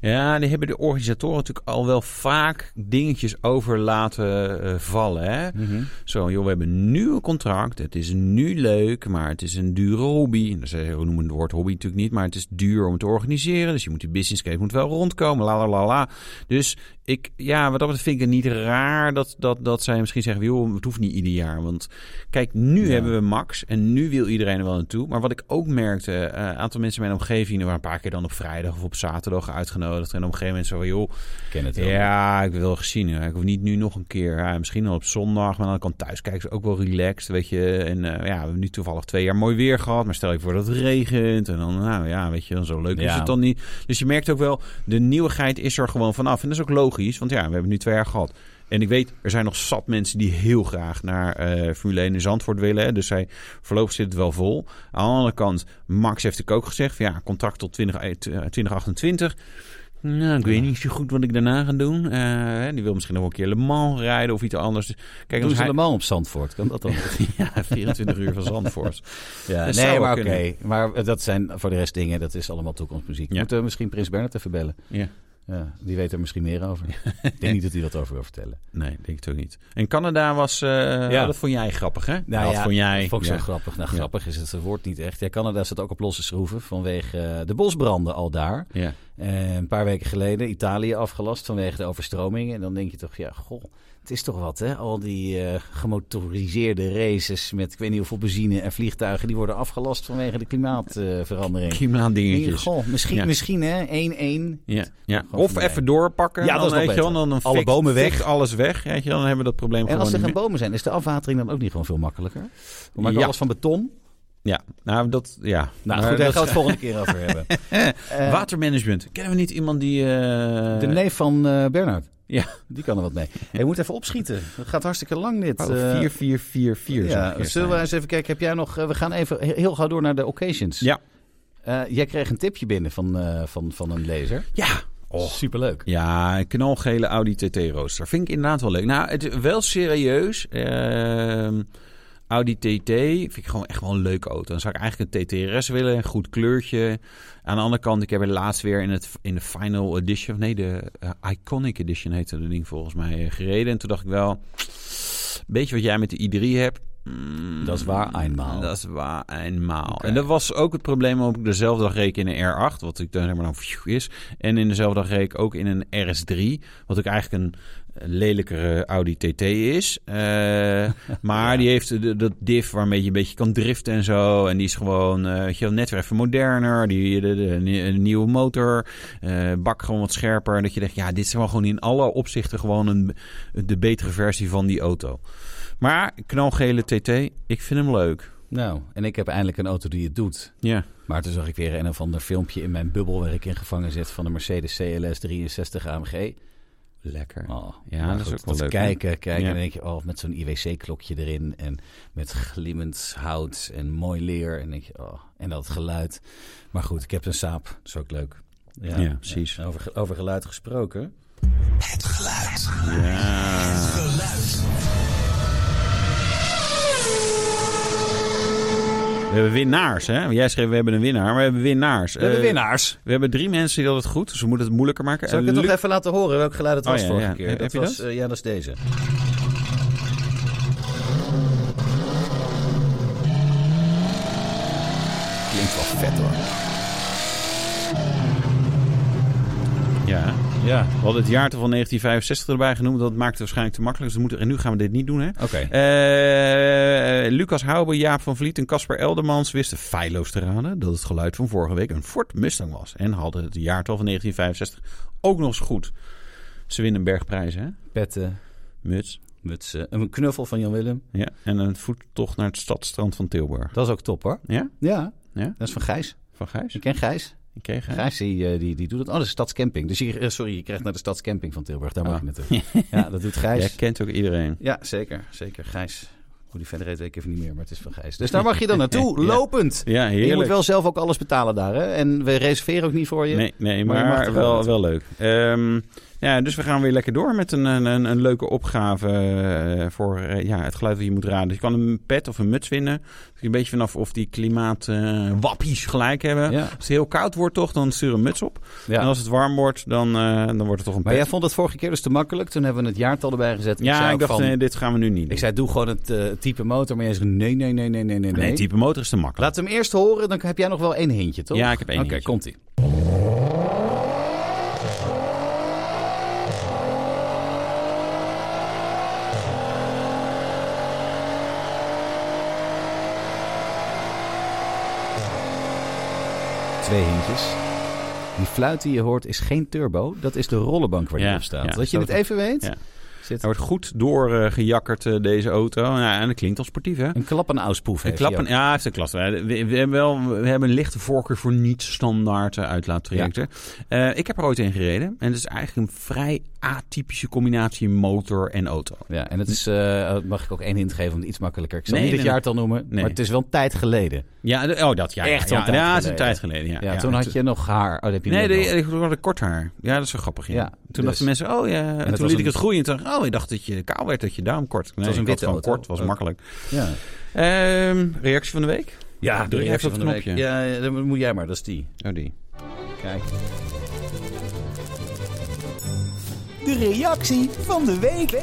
Ja, die hebben de organisatoren natuurlijk al wel vaak dingetjes over laten eh, vallen. Hè?
Mhm.
Zo, joh, we hebben nu een contract. Het is nu leuk, maar het is een dure hobby. En ze- We noemen het woord hobby natuurlijk niet, maar het is duur om te organiseren. Dus je moet die business case moet wel rondkomen, la la la la. Dus eh, Ik, ja, wat dat betreft vind ik het niet raar dat, dat, dat zij misschien zeggen... joh, het hoeft niet ieder jaar. Want kijk, nu
Ja.
hebben we Max en nu wil iedereen er wel naartoe. Maar wat ik ook merkte, eh, een aantal mensen in mijn omgeving... die waren een paar keer dan op vrijdag of op zaterdag uitgenodigd. En op een gegeven moment zo van, joh,
Ik ken het wel.
ja, ik wil wel gezien. hè. Ik hoef niet nu nog een keer. Ja, misschien al op zondag, maar dan kan thuis kijken. Is ook wel relaxed, weet je. En eh, ja, we hebben nu toevallig twee jaar mooi weer gehad. Maar stel je voor dat het regent. En dan, nou ja, weet je, dan zo leuk is
Ja.
het dan niet. Dus je merkt ook wel, de nieuwigheid is er gewoon vanaf. En dat is ook logisch, want ja, we hebben nu twee jaar gehad. En ik weet, er zijn nog zat mensen die heel graag naar eh Formule 1 in Zandvoort willen. Hè. Dus zij, voorlopig zit het wel vol. Aan de andere kant, Max heeft ik ook gezegd... van ja, contract tot 20, eh, 2028. Nou, ik weet niet zo goed wat ik daarna ga doen. Eh, hè, die wil misschien nog een keer Le Mans rijden of iets anders. Dus Kijk,
Doen
als
ze
hij...
allemaal op Zandvoort? Kan dat dan?
Ja, 24 uur van Zandvoort.
Ja,
Dat zou
nee,
wel
maar oké.
kunnen.
Maar eh, dat zijn voor de rest dingen, dat is allemaal toekomstmuziek.
Ja.
Moeten we misschien Prins Bernhard even bellen?
Ja.
Ja, die weet er misschien meer over. Ik denk niet dat hij dat over wil vertellen.
Nee, denk ik ook niet. En Canada was... eh,
Ja.
oh, dat vond jij grappig, hè? Nou, dat
ja,
vond jij...
Vond ik zo
ja.
grappig. Nou,
Ja.
grappig is het woord niet echt. Ja, Canada zit ook op losse schroeven vanwege eh, de bosbranden al daar.
Ja.
Eh, een paar weken geleden Italië afgelast vanwege de overstromingen. En dan denk je toch, ja, goh, het is toch wat, hè? Al die eh, gemotoriseerde races met ik weet niet hoeveel benzine en vliegtuigen... die worden afgelast vanwege de klimaatverandering.
Klimaatdingetjes.
Goh, misschien,
Ja.
misschien hè, 1-1.
Ja, ja.
Gewoon
Of
van mij.
even doorpakken.
Ja,
dan,
dat is nog
weet je wel,
beter.
Dan, dan
Alle
fikt-
bomen weg.
fikt alles weg. Weet je, dan hebben we dat probleem
En
gewoon
als er
niet
geen
meer.
bomen zijn, is de afwatering dan ook niet gewoon veel makkelijker? We maken
Ja.
alles van beton.
Ja, nou dat... Ja.
Nou
Maar
goed, daar gaan
dat-
we het volgende keer over hebben. Eh,
Watermanagement. Kennen we niet iemand die... eh,
de neef van eh Bernard.
Ja.
Die kan er wat mee. Hey, je moet even opschieten. Het gaat hartstikke lang dit.
Oh,
Eh,
4, 4, 4, 4. zou ik
ja,
eerst
zullen we
zeggen.
eens even kijken, heb jij nog... eh, we gaan even he- heel gauw door naar de occasions.
Ja.
Eh, jij kreeg een tipje binnen van, eh, van, van een lezer.
Ja. Oh.
Superleuk.
Ja, een knalgele Audi TT-rooster. Vind ik inderdaad wel leuk. Nou, het is wel serieus. Ehm, Audi TT vind ik gewoon echt wel een leuke auto. Dan zou ik eigenlijk een TTRS willen. Een goed kleurtje. Aan de andere kant, ik heb er laatst weer in, het, in de Final Edition... Nee, de eh, Iconic Edition heette dat ding volgens mij eh, gereden. En toen dacht ik wel... Beetje wat jij met de i3 hebt. Mm,
Dat is waar, eenmaal.
Dat is waar, eenmaal.
Oké.
En dat was ook het probleem waarom ik dezelfde dag reed in een R8, wat ik dan helemaal nou phew is. En in dezelfde dag reed ik ook in een RS3, wat ook eigenlijk een eh, lelijkere Audi TT is. Eh, maar die heeft de- dat diff waarmee je een beetje kan driften en zo. En die is gewoon eh, weet je wel, net weer even moderner. Die, de, de- de- een nieuwe motor, eh, bak gewoon wat scherper. Dat je denkt, ja, dit is wel gewoon in alle opzichten gewoon een, de betere versie van die auto. Maar knalgele TT, ik vind hem leuk.
Nou, en ik heb eindelijk een auto die het doet.
Ja.
Maar toen zag ik weer een of ander filmpje in mijn bubbel waar ik in gevangen zit van de Mercedes CLS 63 AMG.
Lekker.
Oh,
Ja,
maar
dat is ook wel
dat
leuk, hè?
Kijken, kijken.
Ja.
En dan denk je, oh, met zo'n IWC-klokje erin en met glimmend hout en mooi leer. En dan denk je, oh, en dat geluid. Maar goed, ik heb een saap. Dat is ook leuk.
Ja, precies.
ja. eh, Over, ge- over geluid gesproken.
Het geluid.
Ja.
Geluid.
We hebben winnaars, hè? Jij schreef we hebben een winnaar, maar we hebben winnaars.
We hebben
Eh,
winnaars.
We hebben drie mensen die dat het goed, dus we moeten het moeilijker maken.
Zal ik
Eh,
het nog
Luc-
even laten horen welk geluid het
Oh,
was
ja,
vorige
ja.
keer?
Heb
dat
je
was,
dat?
eh, ja, dat is deze.
Klinkt wel vet hoor.
Ja.
Ja,
We hadden het jaartal van 1965 erbij genoemd, dat maakt het waarschijnlijk te makkelijk. Dus we moeten, en nu gaan we dit niet doen, hè?
oké.
Eh, Lucas Houben, Jaap van Vliet en Casper Eldermans wisten feilloos te raden dat het geluid van vorige week een Ford Mustang was. En hadden het jaartal van 1965 ook nog eens goed. Ze winnen een bergprijs, hè?
Petten,
Muts.
mutsen, een knuffel van Jan Willem.
Ja. En een voettocht naar het stadstrand van Tilburg.
Dat is ook top hoor.
Ja?
Ja,
Ja?
dat is van Gijs.
Van Gijs?
Ik ken Gijs.
Ik kreeg hij.
Gijs die, eh, die, die doet het. Oh, dat is stadscamping. Dus je, eh, sorry, je krijgt naar de stadscamping van Tilburg. Daar
Ah.
mag je naartoe. Ja, dat doet Gijs.
Jij kent ook iedereen.
Ja, zeker. Zeker. Gijs. Hoe die verder heet weet ik even niet meer, maar het is van Gijs. Dus daar mag je dan naartoe,
Ja.
lopend.
Ja,
En Je
heerlijk.
moet wel zelf ook alles betalen daar. Hè? En we reserveren ook niet voor je.
Nee, nee
Maar
maar,
je mag er
wel,
wel
wel leuk. Ehm, ja, dus we gaan weer lekker door met een, een, een, een leuke opgave eh, voor eh, ja, het geluid dat je moet raden. Dus je kan een pet of een muts winnen. Dus een beetje vanaf of die klimaatwappies gelijk hebben.
Ja.
Als het heel koud wordt toch, dan stuur een muts op. En
Ja.
als het warm wordt, dan, eh, dan wordt het toch een
Maar
pet.
jij vond het vorige keer dus te makkelijk. Toen hebben we het jaartal erbij gezet.
ja,
zei
ik,
ook
dacht,
van-
nee, dit gaan we nu niet doen.
ik zei, doe gewoon het eh, type motor. Maar jij zegt, nee, nee, nee, nee, nee, nee.
nee, type motor is te
Laat
makkelijk.
hem eerst horen, dan heb jij nog wel één hintje, toch?
Ja, ik heb één
Oké,
hintje.
komt-ie. twee hintjes. Die fluit die je hoort is geen turbo. Dat is de rollenbank waar je
Ja,
op staat.
ja,
dat je
zo
het
goed.
even weet.
Ja. Nou,
Zit
Hij wordt goed doorgejakkerd, eh, deze auto. Ja, en dat klinkt al sportief, hè?
een klap en auspoef
Een
heeft
klap
hij
en-
ook.
ja, hij heeft een klas. We, we- we hebben wel, we hebben een lichte voorkeur voor niet-standaard eh, uitlaattrajecten. Eh, ik heb er ooit in gereden. En het is eigenlijk een vrij atypische combinatie motor en auto.
Ja, en het is, eh, mag ik ook één hint geven om het iets makkelijker. Ik zal
Nee,
niet
nee,
het jaartal noemen,
Nee.
maar het is wel een tijd geleden.
Ja, de- oh, dat ja.
Echt
ja,
al
ja,
een tijd
ja, het is
geleden.
een tijd geleden. Ja,
Ja, toen had
Het-
je nog haar. Oh, dat heb je
Nee,
nu ook nog.
de, ik had kort haar. Ja, dat is wel grappig. Ja.
Ja,
toen
dus.
dachten mensen, oh ja. En,
het
toen
was
liet
een-
ik het groeien. En toen dacht ik, oh, ik dacht dat je kaal werd, dat je duim kort.
was
Nee,
een
ik had
witte
gewoon
auto.
kort, was
Ook.
makkelijk.
Ja,
Ehm, reactie van de week?
ja
Druk even op het
de week.
knopje.
Ja, ja, dan moet jij maar. Dat is die.
Oh, die.
Kijk.
De reactie van de week.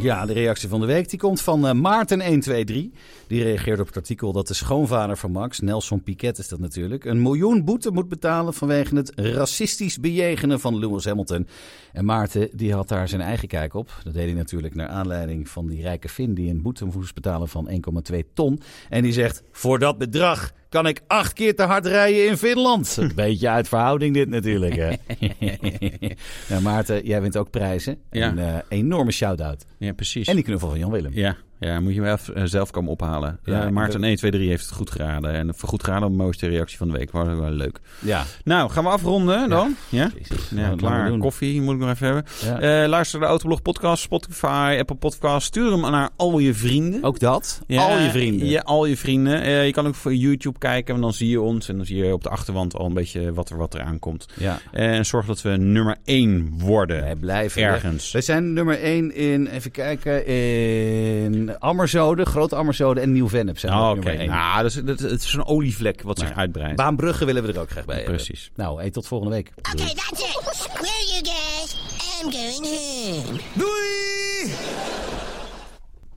Ja, de reactie van de week die komt van eh, Maarten123. Die reageert op het artikel dat de schoonvader van Max, Nelson Piquet is dat natuurlijk, een miljoen boete moet betalen vanwege het racistisch bejegenen van Lewis Hamilton. En Maarten die had daar zijn eigen kijk op. Dat deed hij natuurlijk naar aanleiding van die rijke Finn die een boete moest betalen van 1,2 ton. En die zegt, voor dat bedrag kan ik acht keer te hard rijden in Finland. Een beetje uit verhouding dit natuurlijk. Hè? nou, Maarten, jij wint ook prijzen.
Ja.
Een eh, enorme shout-out.
Ja, precies.
En die knuffel van Jan Willem.
Ja, ja, moet je wel even, eh, zelf komen ophalen.
Ja,
Ja,
ik
Maarten
ben-
1, 2, 3 heeft het goed geraden. En voor goed geraden de mooiste reactie van de week. Was ook wel leuk.
Ja,
Nou, gaan we afronden dan? Ja?
precies.
Ja,
Wat gaan we
klaar.
doen?
Koffie moet ik nog even hebben.
Ja.
Eh, luister naar de Autoblog podcast, Spotify, Apple podcast. Stuur hem naar al je vrienden.
Ook dat.
Ja,
Oh, Al je vrienden.
Ja, al je vrienden. Eh, je kan ook voor YouTube kijken en dan zie je ons. En dan zie je op de achterwand al een beetje wat er, wat er aankomt. Eh,
Ja.
En zorg dat we nummer 1 worden.
Wij blijven
Ergens.
Wij zijn nummer 1 in, even kijken, in Ammerzode, Groot Ammerzode en Nieuw-Vennep zijn we
Oh,
ook
Oké,
nummer één.
nou, dat is, dat, dat is een olievlek wat zich uitbreidt.
Baanbrugge willen we er ook graag bij hebben.
Precies.
Nou, hey, tot volgende week.
Okay, that's it. Where are you guys? I'm going home.
Doei!